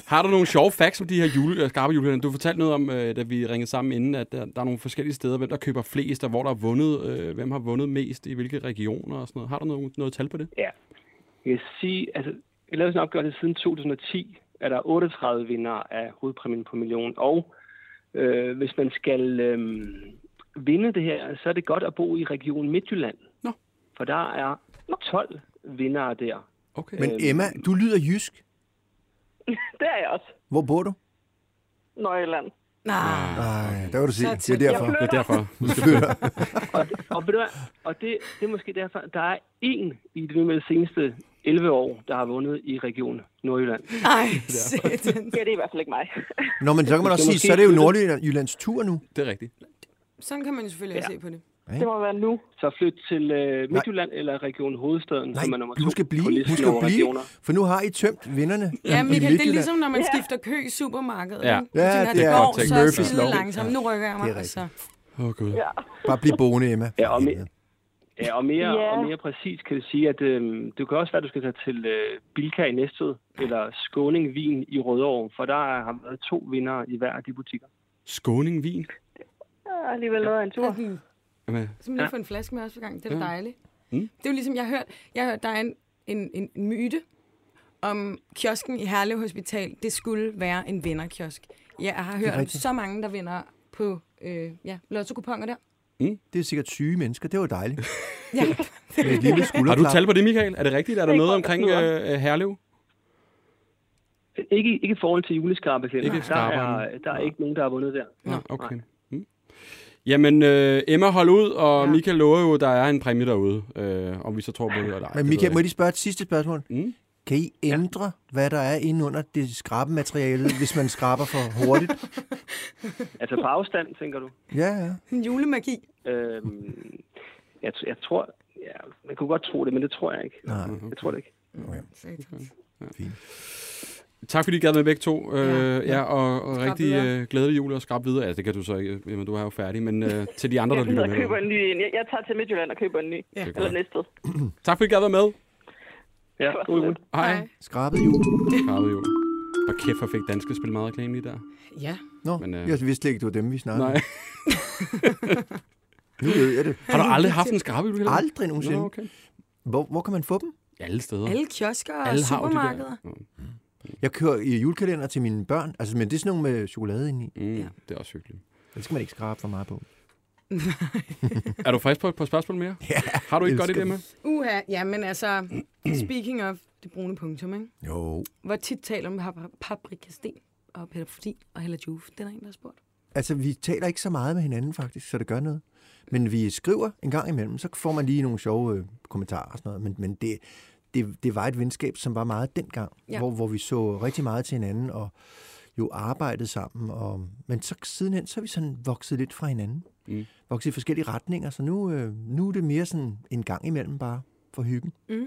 Har du nogle sjove facts om de her jule, øh, skarpe julekalender? Du fortalte noget om, øh, da vi ringede sammen inden, at der, der er nogle forskellige steder, hvem der køber flest, og hvor der er vundet, øh, hvem har vundet mest i hvilke regioner og sådan noget. Har du noget, noget tal på det?
Jeg kan sige, altså, jeg lavede sådan en opgørelse siden 2010, er der 38 vinder af hovedpræmien på million. Og øh, hvis man skal øh, vinde det her, så er det godt at bo i Region Midtjylland.
Nå.
For der er 12 vinder der.
Okay.
Men Emma, du lyder jysk.
Det er jeg også.
Hvor bor du?
Nordjylland.
Nej,
Nej, der var du se.
Så
Det er
tæt.
derfor.
det er derfor.
Og, ved du hvad? og det, det er måske derfor, der er en i det med de seneste 11 år, der har vundet i Region Nordjylland.
nej, satan.
Ja, det er i hvert fald ikke mig.
Nå, men så kan man også
Det er
sige,
måske
så er det jo
flyttet.
Nordjyllands tur nu.
Det er rigtigt.
Sådan kan man jo selvfølgelig ja. se på det.
Det må være nu.
Så flyt til øh, Midtjylland eller Region Hovedstaden,
Nej,
som er nummer
du
to
skal
på
blive,
listen
du skal
over
blive,
regioner.
for nu har I tømt vinderne
Ja,
i
Michael, det er
Midtjylland.
ligesom, når man
Ja.
skifter kø i supermarkedet.
Ja.
ikke?
Ja,
Fordi når
det er
går,
godt tænkt.
så er det
Murphy's
skide
Law.
langsomt. Nu rykker jeg mig.
Det er rigtigt.
altså.
Åh, oh, Gud.
Ja.
Bare bliv boende, Emma.
Ja, og med- Ja, og mere,
Ja.
yeah. og mere præcis kan vi sige, at øh, det kan også være, at du skal tage til øh, Bilka i Næstved, eller Skåning Vin i Rødovre, for der har været to vinder i hver af de butikker.
Skåning vin.
Ja, alligevel noget af en tur.
Sådan,
Jamen,
simpelthen få en flaske med os for gang. Det er da
Ja.
dejligt.
Mm.
Det er jo ligesom, jeg har hørt, jeg har hørt der er en, en, en myte om kiosken i Herlev Hospital. Det skulle være en vinderkiosk. Jeg har hørt om
rigtigt.
så mange, der vinder på øh, ja, lotto-kuponger der.
Det er sikkert syge mennesker. Det var dejligt.
Ja.
Med et lille
har du
skulderklap.
tal på det, Michael? Er det rigtigt? Er der
Det er
noget
godt,
omkring
det
øh, Herlev?
Ikke, ikke i forhold til juleskarpeklæder.
Ikke
Der er,
skarperne.
der er ikke nogen, der har vundet der.
Nej, okay. Mm. Jamen, øh, Emma, hold ud, og
Ja.
ja. Michael lover jo, der er en præmie derude, øh, om vi så tror på det eller ej.
Men
det ved
Michael, må
jeg
jeg
ikke.
lige spørge et sidste spørgsmål?
Mm.
Kan I ændre, hvad der er inde under det skrabemateriale, hvis man skraber for hurtigt?
Altså på afstand, tænker du?
Ja, ja.
En julemagi.
Øhm, jeg, t- jeg tror... Ja, man kunne godt tro det, men det tror jeg ikke.
Nej,
Jeg tror det ikke.
Satans.
Tak fordi I gad med begge to. Øh,
Ja.
ja. ja, og, og
Skrab
rigtig
videre.
øh, glædelig jul og skrab videre. Altså, det kan du så ikke, Emma, du er jo færdig, men øh, til de andre, der
Jeg
lytter
gider og køber
med.
en ny en. Jeg, jeg tager til Midtjylland og køber en ny.
Ja.
Ja. Eller næstved.
Tak fordi I gad være med.
Ja,
var
god
så
jul.
Hej.
Hej.
skrabet jul.
Skrabet jul. Og kæft, hvor fik danske spil meget reklame lige der.
Ja.
Nå,
Men,
Men,
øh,
øh... jeg vidste slet ikke, det var dem, vi snakkede
Nej.
om. Nu ved jeg det.
Har du aldrig haft en skrabehjul? heller?
Aldrig nogensinde.
Nå, okay.
Hvor, hvor kan man få dem?
Alle steder.
Alle kiosker og
Alle har jo de der.
supermarkeder.
Jeg kører i julekalender til mine børn, altså, men det er sådan nogle med chokolade indeni.
Mm,
Ja.
Det er også hyggeligt.
Det skal man ikke skrabe for meget på.
Er du frisk på et par spørgsmål mere? Ja, har du ikke godt i
elsker
det med?
Uha, ja, men altså, speaking of det brune punktum, ikke?
Jo.
Hvor tit taler man om pap- paprikasten og Peter Fordin og Hella Juf? Det er der en, der har spurgt.
Altså, vi taler ikke så meget med hinanden faktisk, så det gør noget. Men vi skriver en gang imellem, så får man lige nogle sjove øh, kommentarer og sådan noget. Men, men det, det, det var et venskab, som var meget dengang,
Ja.
ja. hvor, hvor vi så rigtig meget til hinanden og jo arbejdede sammen. Og, men så sidenhen, så er vi sådan vokset lidt fra hinanden.
Mm.
Mm. Vokset i forskellige retninger, så nu, øh, nu er det mere sådan en gang imellem bare for hyggen.
Mm.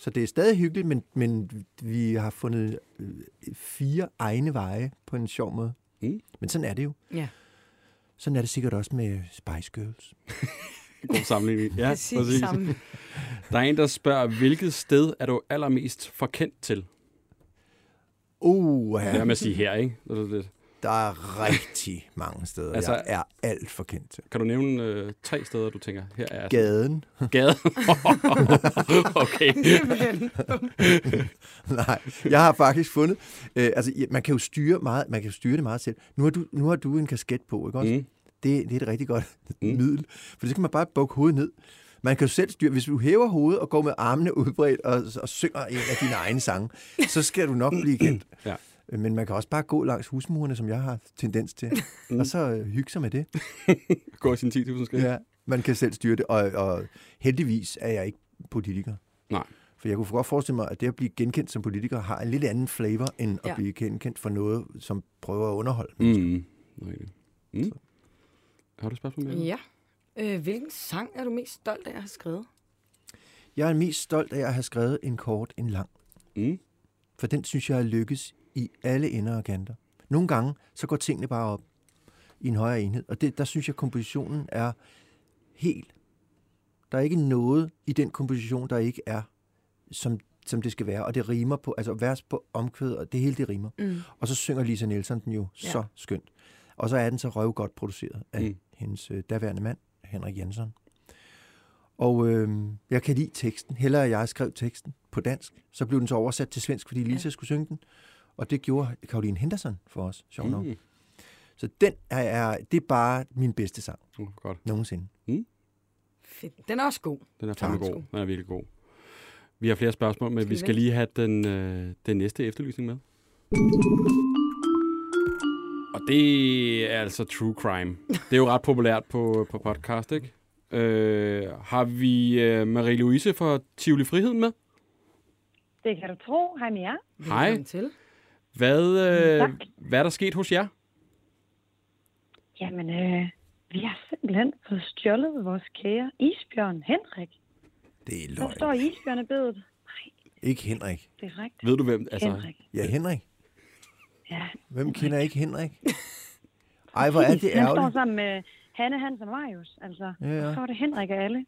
Så det er stadig hyggeligt, men, men vi har fundet øh, fire egne veje på en sjov måde.
Mm.
Men sådan er det jo.
Ja.
Sådan er det sikkert også med Spice Girls.
God sammenligning. Ja,
Præcis, præcis. sammen.
Der er en, der spørger, hvilket sted er du allermest forkendt til?
Uh,
Det er
ja,
med at sige her, ikke? Altså, Det er lidt-
der er rigtig mange steder,
Altså-
altså, jeg er alt for kendt til.
Kan du nævne øh, tre steder, du tænker, her er jeg?
Gaden.
Gade. okay.
Simpelthen.
Nej, jeg har faktisk fundet... Øh, altså, ja, man kan jo styre, meget, man kan jo styre det meget selv. Nu har, du, nu har du en kasket på, ikke også?
Mm.
Det, det er et rigtig godt
Mm.
middel. For så kan man bare bukke hovedet ned. Man kan jo selv styre... Hvis du hæver hovedet og går med armene udbredt og, og synger en af dine egne sange, så skal du nok blive kendt. Øh,
Ja.
Men man kan også bare gå langs husmurene, som jeg har tendens til,
Mm.
og så øh, hygge sig med det.
Gå i sin 10.000 skridt.
Ja, man kan selv styre det, og, og heldigvis er jeg ikke politiker.
Nej.
For jeg kunne godt forestille mig, at det at blive genkendt som politiker har en lidt anden flavor, end ja.
Ja.
at blive genkendt for noget, som prøver at underholde. Mm.
Mm. Rigtigt. Mm. Har du et spørgsmål mere?
ja. Øh, hvilken sang er du mest stolt af at have skrevet?
Jeg er mest stolt af at have skrevet en kort, en lang.
Mm.
For den synes jeg er lykkes i alle ender og kanter. Nogle gange, så går tingene bare op i en højere enhed. Og det, der synes jeg, kompositionen er helt. Der er ikke noget i den komposition, der ikke er, som, som det skal være. Og det rimer på, altså vers på omkvæd, og det hele det rimer.
Mm.
Og så synger Lisa Nielsen den jo
Ja.
ja. så skønt. Og så er den så røvgodt produceret af
Mm.
mm. hendes øh, daværende mand, Henrik Jensen. Og øh, jeg kan lide teksten. Hellere jeg skrev teksten på dansk. Så blev den så oversat til svensk, fordi Lisa skulle synge den. Og det gjorde Caroline Henderson for os, sjovt nok. Så den er, er, det er bare min bedste sang
Uh, godt.
nogensinde.
Fedt. Den er også god.
Den er fandme
Tak.
god. Den er virkelig god. Vi har flere spørgsmål, men
Skal
vi
vi
skal
vente?
lige have den, øh, den næste efterlysning med. Og det er altså true crime. Det er jo ret populært på, på podcast, ikke? Øh, har vi øh, Marie-Louise fra Tivoli Friheden med?
Det kan du tro. Hej med jer.
Hej.
Velkommen til.
Hvad, øh,
Tak.
hvad er der sket hos jer?
Jamen, øh, vi har simpelthen fået stjålet vores kære isbjørn Henrik.
Det er
Der står
løgn.
i isbjørnebedet. Nej,
Ikke Henrik.
det er rigtigt.
Ved du hvem? Altså,
Henrik.
Ja, Henrik.
Ja.
Hvem kender ikke Henrik? Ej, hvor er det
Han står
ærgerligt.
sammen med Hanne, Hans og Marius. Altså,
Ja, ja.
ja. så var det Henrik og alle.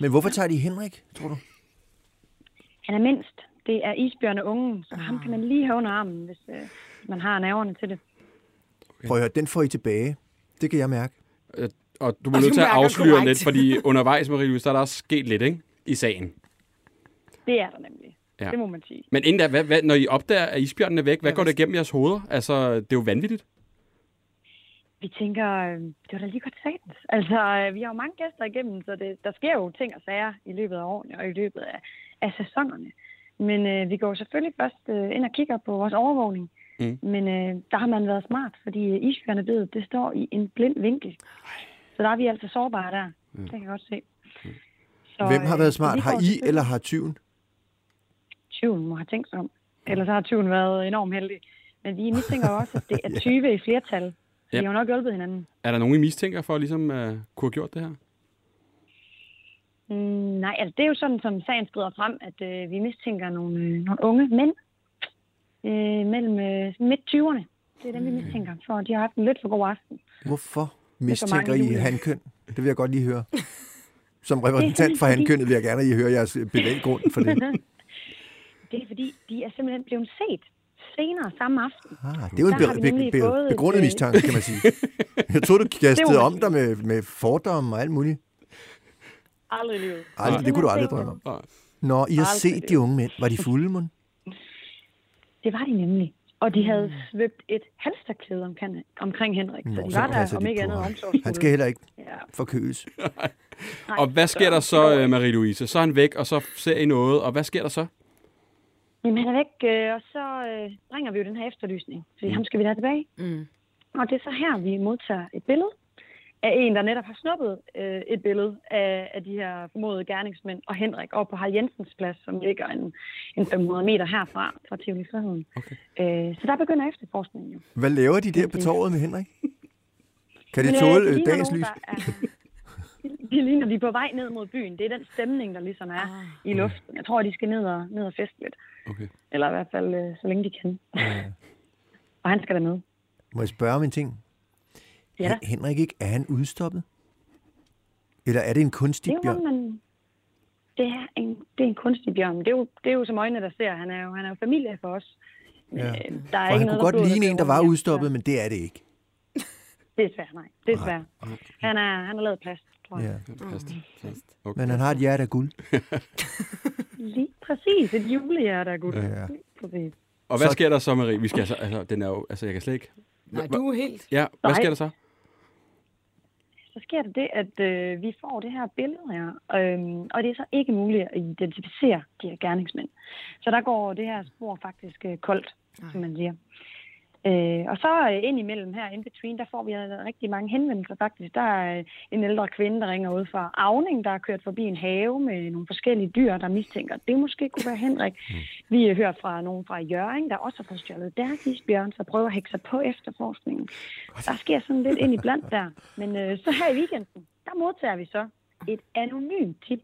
Men hvorfor tager de Henrik, tror du?
Han er mindst. Det er isbjørneungen, så
Ah.
ham kan man lige have under armen, hvis øh, man har nerverne til det.
Prøv at høre, den får I tilbage. Det kan jeg mærke.
øh, og du må
Og
nødt
du
til at
mærker
afsløre
korrekt.
lidt, fordi undervejs, Marie-Louise, der er der også sket lidt, ikke? I sagen.
Det er der nemlig.
Ja.
Ja. Det må man sige.
Men inden da, hvad, hvad, når I opdager, at isbjørnen er væk, hvad
Ja,
går der
hvad-
igennem jeres hoveder? Altså, det er jo vanvittigt.
Vi tænker, øh, det var da lige godt sagtens. Altså, øh, vi har jo mange gæster igennem, så det, der sker jo ting og sager i løbet af årene og i løbet af, af sæsonerne. Men øh, vi går jo selvfølgelig først øh, ind og kigger på vores overvågning.
Mm.
Mm. Men øh, der har man været smart, fordi isbjørnebedet, det står i en blind vinkel. Så der er vi altså sårbare der. Mm. Det kan jeg godt se. Så,
Mm. Hvem har
øh,
været
så
smart?
vi
Har
går
I
selvfølgelig-
eller har tyven?
Tyven må have tænkt sig om. Ellers har tyven været enormt heldig. Men vi mistænker jo også, at det er 20 i flertal. Vi
Ja.
har jo nok hjulpet hinanden.
Er der nogen, I mistænker for, at ligesom uh, kunne have gjort det her?
Mm, nej, altså det er jo sådan, som sagen skrider frem, at øh, vi mistænker nogle, øh, nogle unge mænd øh, mellem øh, midt 20'erne. Det er dem,
Mm.
vi mistænker, for de har haft en lidt for god aften.
Hvorfor
for mange
mistænker I
jule.
hankøn? Det vil jeg godt lige høre. Som repræsentant for
fordi-
hankønnet vil jeg gerne lige høre jeres bevæggrund for det. Ah,
Det er fordi, de er simpelthen blevet set senere samme aften.
Ah, det er jo en
Der har vi
be- be-
nemlig
be-
fået et,
begrundet
øh,
mistanke, kan man sige. Jeg troede, du
Det
kastede
må man
om dig med, med fordomme og alt muligt.
Aldrig i livet.
Aldrig, det kunne du aldrig drømme om. Nå, I har
Aldrig
set de unge mænd. Var de fulde, mon?
Det var de nemlig. Og de havde svøbt et halsterklæde omkring, omkring Henrik. så
Mm. Nå,
de
så
var der,
passer
om
de
ikke
på
andet,
ham.
omsorgsfulde.
Han skal heller ikke
Ja,
forkøles.
nej,
Og hvad sker der
det
så,
går
øh, Marie-Louise? Så er han væk, og så ser I noget, og hvad sker der så?
Jamen, han er væk, øh, og så øh, bringer vi jo den her efterlysning, fordi mm. ham skal vi da have tilbage.
Mm.
Og det er så her, vi modtager et billede af en, der netop har snuppet øh, et billede af, af de her formodede gerningsmænd og Henrik over på Harald Jensens plads, som ligger en, en 500 meter herfra fra Tivoli Friheden.
Okay.
Øh, så der begynder efterforskningen jo.
Hvad laver de der på torvet med Henrik? Kan det
Men, øh,
tåle øh,
ligner
dagens
nogen,
lys?
der er- De ligner, de er på vej ned mod byen. Det er den stemning, der ligesom er i luften. Jeg tror, de skal ned og, ned og feste lidt.
Okay.
Eller i hvert fald, øh, så længe de kan. og han skal da med.
Må jeg spørge om en ting?
Ja, da.
Hen- Henrik, ikke, er han udstoppet? Eller er det en kunstig
det er jo,
bjørn?
hvad man... Det er en, det er en kunstig bjørn. Det er, jo, det er jo som øjnene, der ser. Han er jo, han er jo familie for os. Men,
Ja.
øh, Der er
For han kunne
der
godt
blodet,
ligne
der
en, der
bliver
var
rundt.
udstoppet, men det er det ikke.
Ja, Desværre, nej. Desværre. Han er, han er lavet af plast, tror jeg.
Ja.
Fast.
Men han har et hjerte af guld.
Lige præcis. Et julehjerte, gud.
Ja.
Lige præcis.
Og hvad
Så-
sker der så, Marie? Vi skal altså, altså, den er jo, altså, jeg kan slet ikke.
Nej, du er helt...
Ja, hvad
Nej.
sker der så?
Så sker der det, at øh, vi får det her billede her, øhm, og det er så ikke muligt at identificere de her gerningsmænd. Så der går det her spor faktisk øh, koldt, som man siger. Øh, og så øh, indimellem her, in between, der får vi øh, rigtig mange henvendelser faktisk. Der er øh, en ældre kvinde, der ringer ud fra Avning, der er kørt forbi en have med nogle forskellige dyr, der mistænker, at det måske kunne være Henrik. Mm. Vi øh, hører fra nogen fra Jøring, der også har fået stjålet deres isbjørn, så prøver at hække sig på efterforskningen. Der sker sådan lidt ind i blandt der. Men øh, så her i weekenden, der modtager vi så et anonymt tip,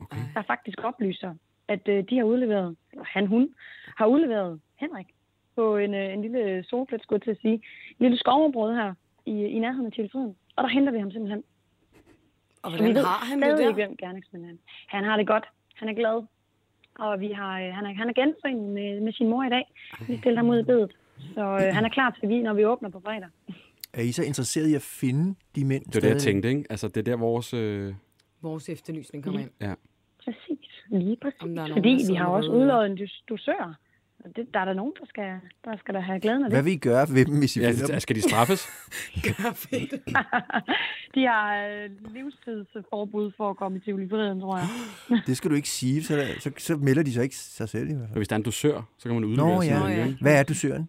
okay. der faktisk oplyser, at øh, de har udleveret, eller han, hun, har udleveret Henrik på en, øh, en lille solplads, skulle jeg til at sige, en lille skovområde her i, i nærheden af Tilfriden. Og der henter vi ham simpelthen.
Og
Vi
hvordan
ved
har han det
stadig ikke,
der?
hvem gerningsmanden er. Han har det godt. Han er glad. Og vi har, øh, han, er, han er genforenet med, med sin mor i dag. Vi stiller ham ud i bedet. Så øh, han er klar til vi, når vi åbner på fredag.
Er I så interesseret i at finde de mænd?
Det var det, jeg tænkte, ikke? Altså, det er der vores... Øh...
Vores
Mm.
efterlysning kommer ind.
Præcis, lige præcis.
Om der er nogen,
Fordi
der
vi
sidder
har
med
også
røde ører.
udlået en dus- dusør, Så det, der er der nogen, der skal, der skal da have glæden af det.
Hvad vil I gøre ved dem, hvis I ja, finder
Ja,
dem?
altså, skal de straffes?
Gør fedt.
De har øh, livstidsforbud for at komme i tivolifriheden, tror jeg.
Det skal du ikke sige, så, der, så, så melder de sig ikke sig selv i hvert
Og
fald.
hvis der er en dusør, så kan man udlevere
Nå
sådan en,
ja.
ikke?
ja. Hvad er du, Søren?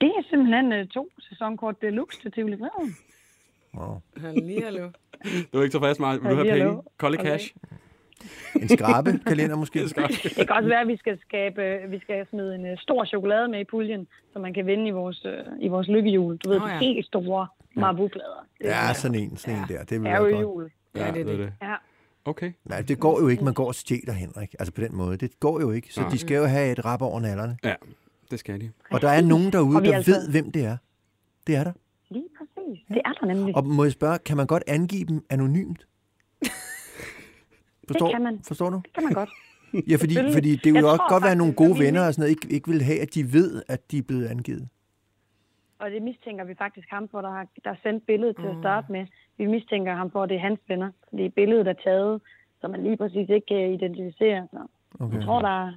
Det er simpelthen øh, to sæsonkort deluxe til tivolifriheden.
Wow.
Halli, hallo.
Du er ikke så fast, Martin. Vil du
Ja,
have
lige
penge?
hallo.
Kolde
Okay.
cash?
En skrabe kalender måske?
Det kan også være, at vi skal, skabe, øh, vi skal smide en øh, stor chokolade med i puljen, så man kan vinde i vores, øh, i vores lykkehjul. Du ved,
Nå
oh, ja.
ja.
de helt store marabu-plader. Det
Ja, sådan en, sådan en der. Det vil
er
være
jo
godt.
jul.
Ja, det er det.
Ja.
Okay.
Nej, det går jo ikke. Man går og stjæler, Henrik. Altså på den måde. Det går jo ikke. Så
Nej.
de skal jo have et rap over nallerne.
Ja, det skal de.
Og der er nogen derude,
Og vi
der
altså-
ved, hvem det er. Det er der.
Lige præcis. Det er der nemlig.
Og må jeg spørge, kan man godt angive dem anonymt? Forstår,
kan man.
Forstår du?
Det kan man godt.
Ja, fordi,
Selvfølgelig.
fordi det
Jeg
ville også
tror
godt være
faktisk,
nogle
at vi
gode
vil-
venner og sådan noget, ikke, ikke vil have, at de ved, at de er blevet angivet.
Og det mistænker vi faktisk ham for, der har der har sendt billedet
Mm.
til at starte med. Vi mistænker ham for, at det er hans venner. Fordi billedet er taget, så man lige præcis ikke kan identificere. Så
Okay.
jeg tror, der er,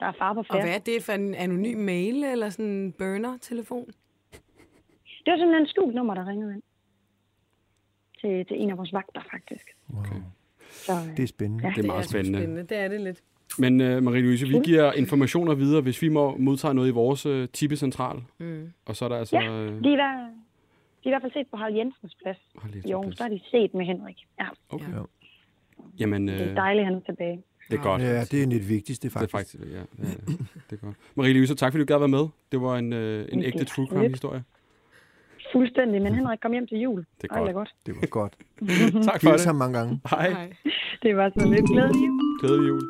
der er far på
Og
færd.
hvad er det for en anonym mail eller sådan en burner-telefon?
Det var simpelthen et skjult nummer, der ringede ind. Til, til en af vores vagter, faktisk.
Wow.
Så, øh,
Det er spændende.
Det er meget
sgu
spændende.
Det er det lidt.
Men uh, Marie-Louise,
Mm.
vi giver informationer videre, hvis vi må modtage noget i vores uh, tippecentral.
Mm.
Og så er der altså...
ja,
øh,
de er, i hver- de er i hvert fald set på Harald Jensens plads.
Harald Jensens
I Aarhus,
plads.
der har de set med Henrik. Ja,
Okay.
Ja.
Jamen, øh,
det er dejligt, at han er tilbage.
det er godt.
Ja, det er det vigtigste,
Det er
faktisk.
faktisk, ja, ja, ja, det er godt. Marie-Louise, tak fordi du gad være med. Det var en, øh, en
Det
ægte
er
true
lidt. Mhm.
crime-historie.
Fuldstændig, men Henrik kom hjem til jul.
Mm. Det er
Ej,
godt.
det er godt.
Det var godt.
Tak for
Hils ham
det.
mange gange.
Hej.
Nej.
Det var så lidt glædelig jul.
Glædelig jul.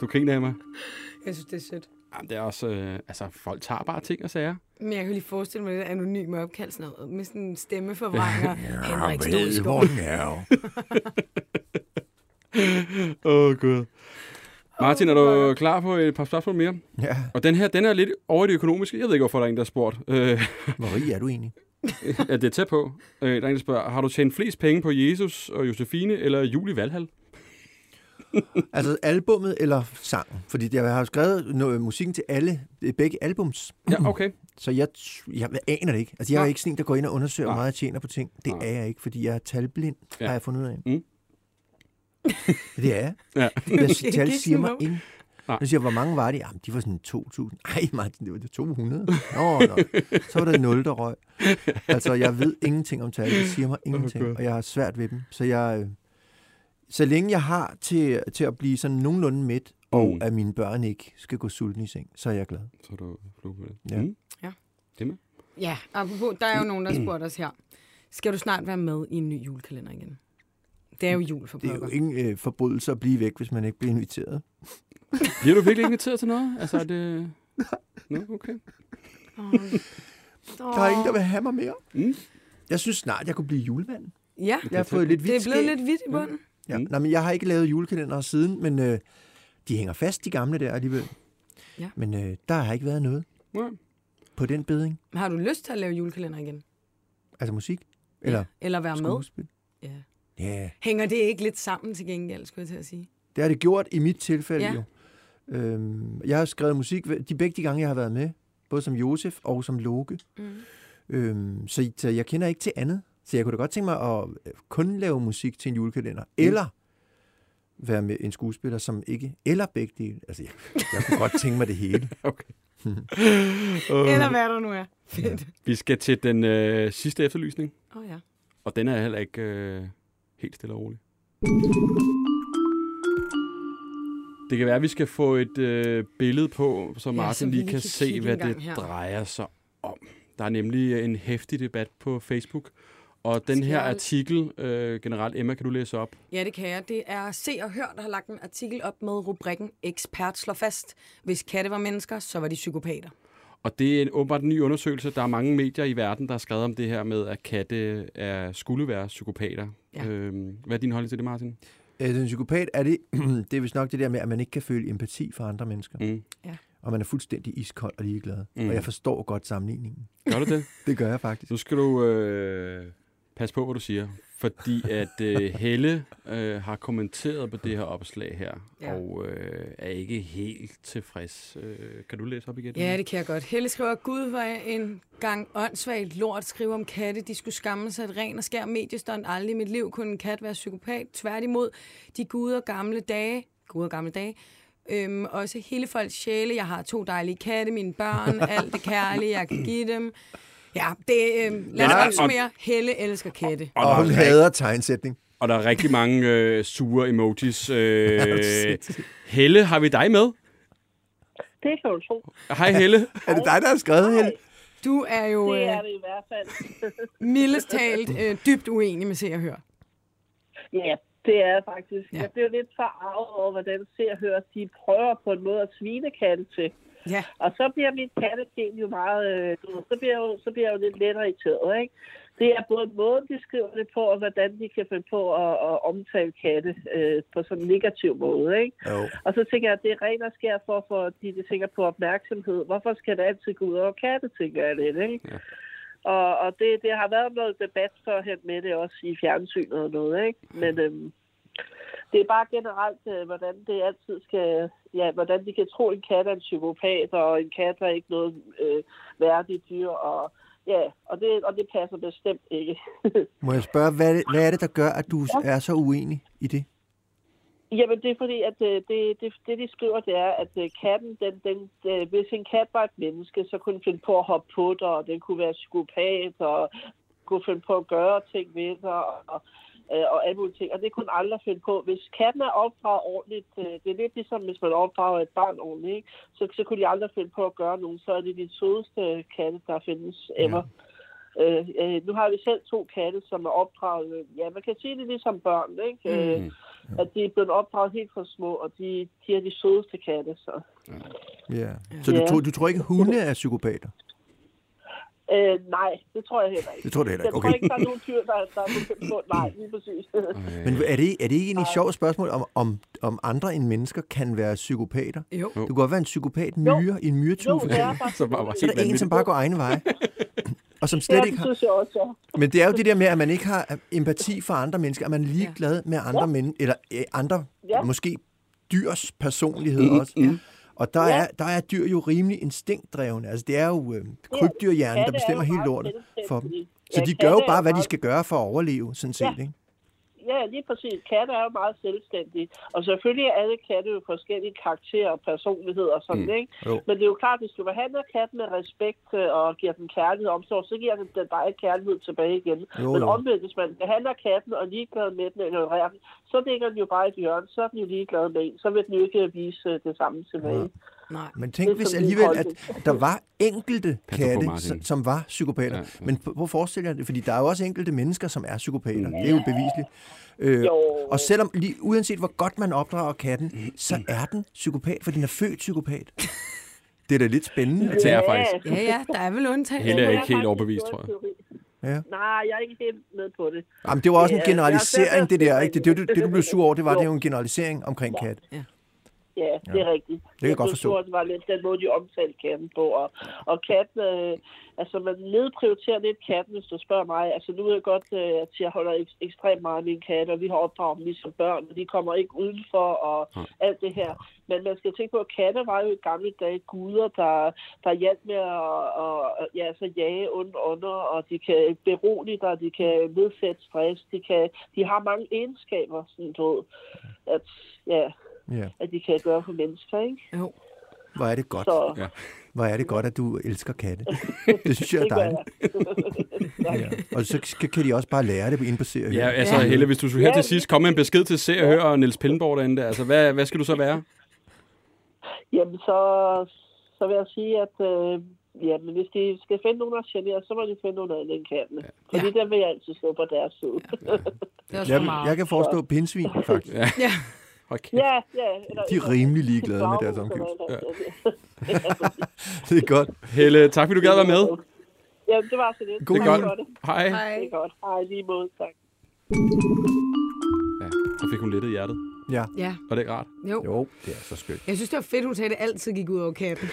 Du griner af mig.
Jeg synes, det er sødt.
Jamen, det er også... Øh, altså, folk tager bare ting og sager.
Men jeg kan lige forestille mig det der anonyme opkald, sådan noget, med sådan en stemmeforvrænger. Henrik stod i
hvor
skoven.
den er.
Åh, oh, gud. Martin, er du klar på et par spørgsmål mere?
Ja,
Og den her, den er lidt over i det økonomiske. Jeg ved ikke, hvorfor der er en, der har spurgt. Øh,
Marie, er du enig?
ja, det er tæt på. Øh, der er en, der spørger, har du tjent flest penge på Jesus og Josefine eller Julie Valhall?
Altså albummet eller sangen? Fordi jeg har jo skrevet noget, musikken til alle, begge albums.
Ja, okay.
Så jeg, t- jeg aner det ikke. Altså, jeg er
Nej.
ikke sådan en, der går ind og undersøger, hvor
Nej.
meget jeg tjener på ting. Det
Nej.
er jeg ikke, fordi jeg er talblind,
Ja.
ja. har jeg fundet ud af.
Mm.
det er jeg.
Ja.
Jeg
er
tal
ikke
siger mig
sådan
ind.
Nej.
Nu siger jeg, hvor mange var de? Jamen, de var sådan 2.000. Nej, Martin, det var det 200. Nå, nå. Så var der 0, der røg. Altså, jeg ved ingenting om tal. Det siger mig ingenting,
Gud.
og jeg har svært ved dem. Så jeg... øh, Så længe jeg har til, til at blive sådan nogenlunde midt, og
Mm.
at mine børn ikke skal gå sultne i seng, så er jeg glad.
Så er du flue på det.
Ja.
Mm.
Ja.
Det med.
Ja, apropos, der er jo nogen, der har spurgt os her. Skal du snart være med i en ny julekalender igen? Det er jo jul for
Det er jo
pokker.
ingen øh, forbrydelse at blive væk, hvis man ikke bliver inviteret.
Bliver du virkelig inviteret til noget? Altså, er det... Nå, okay.
Åh.
Der er ingen, der vil have mig mere.
Mm.
Jeg synes snart, jeg kunne blive julemand.
Ja,
Jeg har fået lidt
det
hvidt
er blevet
skæg.
lidt hvidt i bunden.
Ja.
Mm.
Nej, men jeg har ikke lavet julekalender siden, men øh, de hænger fast, de gamle der alligevel.
Ja.
Men øh, der har ikke været noget
Ja.
på den beding.
Har du lyst til at lave julekalender igen?
Altså musik? Eller
Eller være med?
skuespil?
Ja.
Ja,
Hænger det ikke lidt sammen til gengæld, skulle jeg til at sige?
det har det gjort i mit tilfælde
Ja.
jo. Øhm, jeg har skrevet musik ved- de begge de gange, jeg har været med. Både som Josef og som Loke.
Mm.
Øhm, så, så jeg kender ikke til andet. Så jeg kunne da godt tænke mig at øh, kun lave musik til en julekalender. Mm. Eller være med en skuespiller, som ikke... Eller begge dele. Altså, jeg, jeg kunne godt tænke mig det hele.
Okay.
Øh.
Eller hvad der nu er. Fedt.
Vi skal til den øh, sidste efterlysning,
Åh oh, ja.
og den er heller ikke øh, helt stille og rolig. Det kan være, at vi skal få et øh, billede på, så Martin ja,
så
så
vi
lige
lige
kan
kan
se,
kigge
hvad
en gang
det her.
her.
drejer sig om. Der er nemlig øh, en hæftig debat på Facebook, og den
Skal
her
jeg-
artikel, øh, generelt, Emma, kan du læse op?
Ja, det kan jeg. Det er Se og Hør, der har lagt en artikel op med rubrikken Ekspert slår fast. Hvis katte var mennesker, så var de psykopater.
Og det er en, åbenbart en ny undersøgelse. Der er mange medier i verden, der har skrevet om det her med, at katte er, skulle være psykopater. Ja.
Ja.
Øhm, hvad er din holdning til det, Martin?
Øh, den psykopat er det... det er vist nok det der med, at man ikke kan føle empati for andre mennesker.
Mm.
Og man er fuldstændig iskold og ligeglad.
Mm.
Mm. Og jeg forstår godt sammenligningen.
Gør du det?
Det gør jeg faktisk.
Nu skal du øh, passe på, hvad du siger. fordi at øh, Helle øh, har kommenteret på det her opslag her, ja.
Ja.
og øh, er ikke helt tilfreds. Øh, kan du læse op igen?
Ja, det kan jeg godt. Helle skriver, Gud var en gang åndssvagt lort skrive om katte. De skulle skamme sig et ren og skær mediestånd. Aldrig i mit liv kunne en kat være psykopat. Tværtimod, de guder gamle dage, guder gamle dage, Øhm, også hele folks sjæle. Jeg har to dejlige katte, mine børn, alt det kærlige, jeg kan give dem. Ja, det, øhm, lad os
Ja, og-
opsummere. Helle elsker katte.
der
Og hun
er
hader tegnsætning.
Og der er rigtig mange øh, sure emojis. Øh, Helle, har vi dig med?
Det kan du tro.
Hej Helle.
Er det dig, der har skrevet Helle?
Du er jo
Det
øh,
er det i hvert fald.
mildest talt øh, dybt uenig med Se og Hør.
ja, det er jeg faktisk.
Ja.
Jeg blev lidt forarvet over, hvordan ser og hører, de prøver på en måde at svine katte til.
Ja.
Og så bliver mit kattepen jo meget... Øh, du ved, så, bliver jeg jo, så bliver jeg jo lidt lettere irriteret, ikke? Det er både måden, de skriver det på, og hvordan de kan finde på at, at omtale katte øh, på sådan en negativ måde, ikke?
Jo.
Og så tænker jeg, at det er rent og sker for, for de, de tænker på opmærksomhed. Hvorfor skal det altid gå ud over katte, tænker jeg lidt, ikke? Ja. Og, og det, det har været noget debat førhen med det også i fjernsynet og noget, ikke? Men øhm, det er bare generelt, øh, hvordan det altid skal... Ja, hvordan de kan tro, en kat er en psykopat, og en kat er ikke noget øh, værdigt dyr, og... Ja, og det, og det passer bestemt ikke.
Må jeg spørge, hvad er, det, hvad er det, der gør, at du er så uenig i det?
Jamen, det er fordi, at øh, det, det, det de skriver, det er, at øh, katten, den, den, øh, hvis en kat var et menneske, så kunne den finde på at hoppe på dig, og den kunne være psykopat, og kunne finde på at gøre ting ved dig, og, øh, og alle mulige ting. Og det kunne den aldrig finde på. Hvis katten er opdraget ordentligt, øh, det er lidt ligesom, hvis man opdrager et barn ordentligt, ikke? Så, så kunne de aldrig finde på at gøre nogen. Så er det de sødeste katte, der findes ever. Ja. Øh, øh, nu har vi selv to katte, som er opdraget, øh, ja, man kan sige det er ligesom børn, ikke? Mm. Øh, at de er blevet opdraget helt for små, og de, de er de sødeste katte, så.
Ja. Så du,
Ja.
tror, du tror ikke, hunde er psykopater?
Øh, nej, det tror jeg heller ikke.
Det tror du heller
Jeg
ikke.
tror
Okay.
ikke, der er nogen dyr, der, der er begyndt på. Nej, lige præcis.
Men er det, er det ikke egentlig et sjovt spørgsmål, om, om, om andre end mennesker kan være psykopater?
Jo.
Du kan godt være en psykopat myre i en
Jo,
myretue, for
det er
eksempel.
faktisk.
Som bare var
Så er
helt
der en, som
vanvittigt.
bare går egne veje. Og som
Ja,
slet ikke
det
har...
synes jeg også, ja.
Men det er jo det der med, at man ikke har øh, empati for andre mennesker, at man er ligeglad med andre men, eller øh, andre,
Ja.
måske dyrs personlighed også. Og der er, der er dyr jo rimelig instinktdrevne. Altså, det er jo øh, krybdyrhjernen, der
Katte er
bestemmer
jo
helt
meget
lortet for dem.
selvstændige.
Så
Ja,
de
katte
gør jo
er
bare, hvad de
meget-
skal gøre for at overleve, sådan set. Ikke?
Ja, lige præcis. Katte er jo meget selvstændige. Og selvfølgelig er alle katte jo forskellige karakterer og personligheder og sådan, mm. ikke?
Jo.
Men det er jo klart, hvis du behandler katten med respekt øh, og giver den kærlighed og omsorg, så giver den, den dig kærlighed tilbage igen.
Jo,
Jo, Men
jo.
omvendt, hvis man behandler katten og er ligeglad med den eller ignorerer den, så ligger den jo bare i et hjørne, så er den jo ligeglad med en. Så vil den jo ikke vise øh, det samme tilbage. Ja.
Nej.
Men
Det
tænk
er
hvis
sådan min
alligevel, at
holdning.
der var enkelte
Pas nu på,
katte,
Martin.
som, som var psykopater.
Ja,
Ja,
ja.
ja. Men p- hvor forestiller jeg det? Fordi der er jo også enkelte mennesker, som er psykopater. Det er jo beviseligt. Øh,
Jo.
og selvom, lige, uanset hvor godt man opdrager katten, så er den psykopat, for den er født psykopat. Det er da lidt spændende.
Det er faktisk.
Ja, ja, der er vel undtagelser.
Helle er ikke
faktisk
helt overbevist,
en
tror jeg.
teori.
Ja.
Nej, jeg er ikke helt med på det.
Jamen, det var også
Ja,
en
jeg er svært ved
generalisering,
at
det der.
finde
Ikke? Det, det, det, det, du blev sur over, det var,
Jo.
det er jo en generalisering omkring kat.
Ja, det er rigtigt. Det
kan jeg godt forstå.
Det var lidt den måde, de omtalte katten på. Og, og katten, øh, altså man nedprioriterer lidt katten, hvis du spørger mig. Altså nu ved jeg godt, øh, at jeg holder ek- ekstremt meget af mine katte, og vi har opdraget dem ligesom børn, og de kommer ikke udenfor og
Nej.
alt det her. Men man skal tænke på, at katte var jo i gamle dage guder, der, der hjalp med at og, ja, så jage ondt under, og de kan berolige dig, de kan nedsætte stress, de, kan, de har mange egenskaber, sådan du ved. At, ja,
Ja.
at de kan gøre for mennesker, ikke?
Jo.
Hvor er det godt.
Så
Ja.
Hvor er det godt, at du elsker katte. Det synes jeg er
det gør
dejligt.
jeg.
Ja. Og så kan- kan de også bare lære det inde på serien.
Ja, altså ja. Helle, hvis du skulle her til sidst komme med en besked til Se og Hør og Niels Pillenborg derinde, der, altså hvad, hvad skal du så være?
Jamen, så, så vil jeg sige, at øh, jamen, hvis de skal finde nogen, der generer, så må de finde nogen andet end kattene. Ja. Fordi der vil jeg altid stå på deres side. Ja,
Det er også for
Jeg,
meget.
jeg kan forestå pindsvin, faktisk.
Ja.
Hold kæft.
ja. ja eller,
De er rimelig ligeglade med deres omgivelser. Det er godt.
Helle, tak fordi du gad være med.
Ja, det var så lidt.
God
tak
jul.
for det.
Hej.
Hej.
Det er godt. Hej, lige måde. Tak.
Ja, så fik hun lettet hjertet.
Ja.
Ja,
Var det ikke rart?
jo. jo.
det er så skønt.
Jeg synes, det var fedt, hun sagde, at det altid gik ud over katten.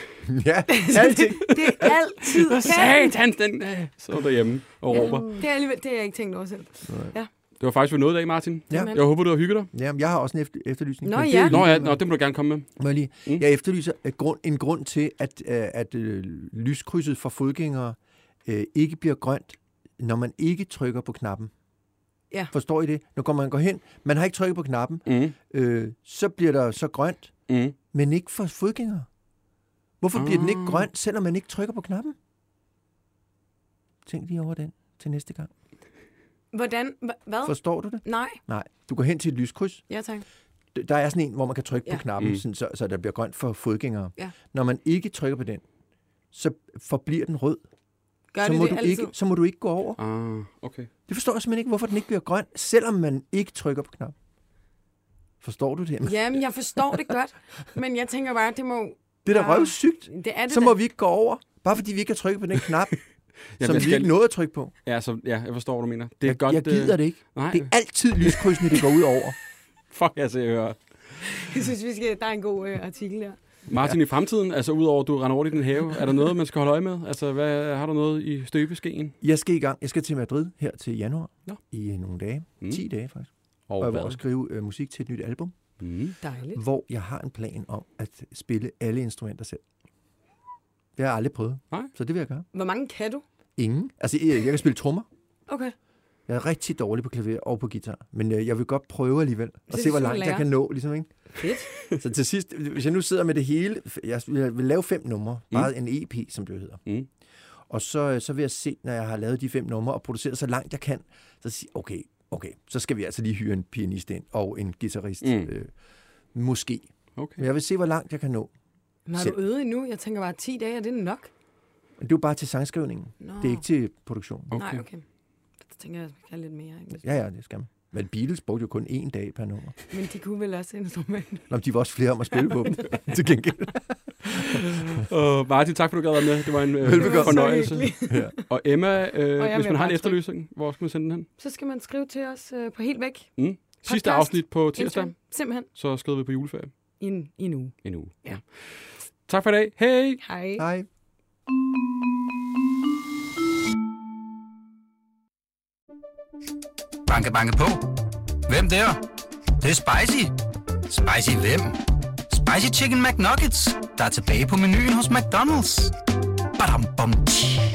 Ja, altid.
Det er altid katten.
Satans, den øh, så derhjemme og råber.
Det er, alligevel, det har jeg ikke tænkt over selv.
Det var faktisk ved noget i dag, Martin.
Ja.
Jeg håber, du har hygget dig.
Jamen, jeg har også en efter- efterlysning.
Nå
men det
ja.
er
Nå ja,
ligegyldigt.
nå, det må du gerne komme med.
Må jeg, lige? Mm. jeg efterlyser et grund, en grund til, at, øh, at øh, lyskrydset for fodgængere øh, ikke bliver grønt, når man ikke trykker på knappen.
Ja.
Forstår I det? Når går man går hen, man har ikke trykket på knappen,
Mm.
øh, så bliver der så grønt,
Mm.
men ikke for fodgængere. Hvorfor bliver den
Mm.
ikke
Ah.
grøn, selvom man ikke trykker på knappen? Tænk lige over den til næste gang.
Hvordan? Hva- Hvad?
Forstår du det?
Nej.
Nej. Du går hen til et lyskryds,
Ja, tak.
der er sådan en, hvor man kan trykke ja.
Ja.
på knappen,
Mm.
mm. sådan, så, så der bliver grønt for fodgængere.
Ja.
Når man ikke trykker på den, så forbliver den rød.
Gør
så,
det
må
det
du
altid?
ikke, så må du ikke gå over.
Ah, okay.
Det forstår jeg simpelthen ikke, hvorfor den ikke bliver grøn, selvom man ikke trykker på knappen. Forstår du det? Ja.
Jamen, jeg forstår det godt, men jeg tænker bare, det må...
Det er da
Ja.
røvsygt.
Det er det
Så
da.
må vi ikke gå over, bare fordi vi ikke har trykket på den knap, som
jeg
vi
skal-
ikke nåede at trykke på.
Ja, så, ja, jeg forstår, hvad du mener. Det er
Jeg,
godt... øh,
jeg gider det ikke.
Nej,
Det er altid lyskrydsene, det går ud over.
fuck, altså, jeg hører.
Jeg synes, vi skal... der er en god øh, artikel der.
Martin, i fremtiden, altså udover at du render rundt i din have, er der noget, man skal holde øje med? Altså, hvad, har du noget i støbeskeen?
Jeg skal i gang. Jeg skal til Madrid her til januar
Nå.
i øh, nogle dage.
Mm.
10 dage faktisk.
Og,
Og jeg vil også skrive øh, musik til et nyt album.
Mm.
Dejligt.
hvor jeg har en plan om at spille alle instrumenter selv. Det har jeg aldrig prøvet,
Nej.
så det vil jeg gøre.
Hvor mange kan du?
Ingen. Altså, jeg, jeg kan spille trommer.
Okay.
Jeg er rigtig dårlig på klaver og på guitar, men øh, jeg vil godt prøve alligevel og
er
se, hvor
ligesom at
langt jeg
lære.
kan nå. Ligesom, ikke?
Fedt.
Så til sidst, hvis jeg nu sidder med det hele, f- jeg s- jeg vil lave fem numre, bare en EP, som det hedder.
Mm.
Og så, øh, så vil jeg se, når jeg har lavet de fem numre og produceret så langt jeg kan, så sige, okay, okay, så skal vi altså lige hyre en pianist ind og en guitarist.
Mm.
Mm. Øh, måske.
Okay.
Men jeg vil se, hvor langt jeg kan nå.
Men har du
Selv.
øvet endnu? Jeg tænker bare, 10 dage, er det nok?
Men Det er jo bare til sangskrivningen.
Nå.
Det er ikke til produktionen.
Okay.
Nej, okay. Så tænker jeg, at man kan lidt mere. Ikke?
Mm. Ja, ja, det skal man. Men Beatles brugte jo kun én dag per nummer.
Men de kunne vel også instrumentet.
Nå, men de var også flere om at spille på dem, til gengæld.
Og Martin, tak for, du gad være med. Det var en øh,
Velbekomme.
fornøjelse.
Det var så hyggeligt.
Og Emma, øh,
jeg er
hvis
med
man har en
på Outlook.
efterlysning, hvor skal man sende den hen?
Så skal man skrive til os øh, på helt væk.
Mm. Sidste
Podcast.
afsnit på tirsdag,
Instagram. Simpelthen.
så skrider vi på juleferie.
I en, i en uge.
En uge.
Ja.
Tak for i dag. Hej!
Hej.
Hej.
Banke, banke på. Hvem der? Det, det er spicy. Spicy hvem? Spicy Chicken McNuggets, der er tilbage på menuen hos McDonald's. Badum, bom, tji.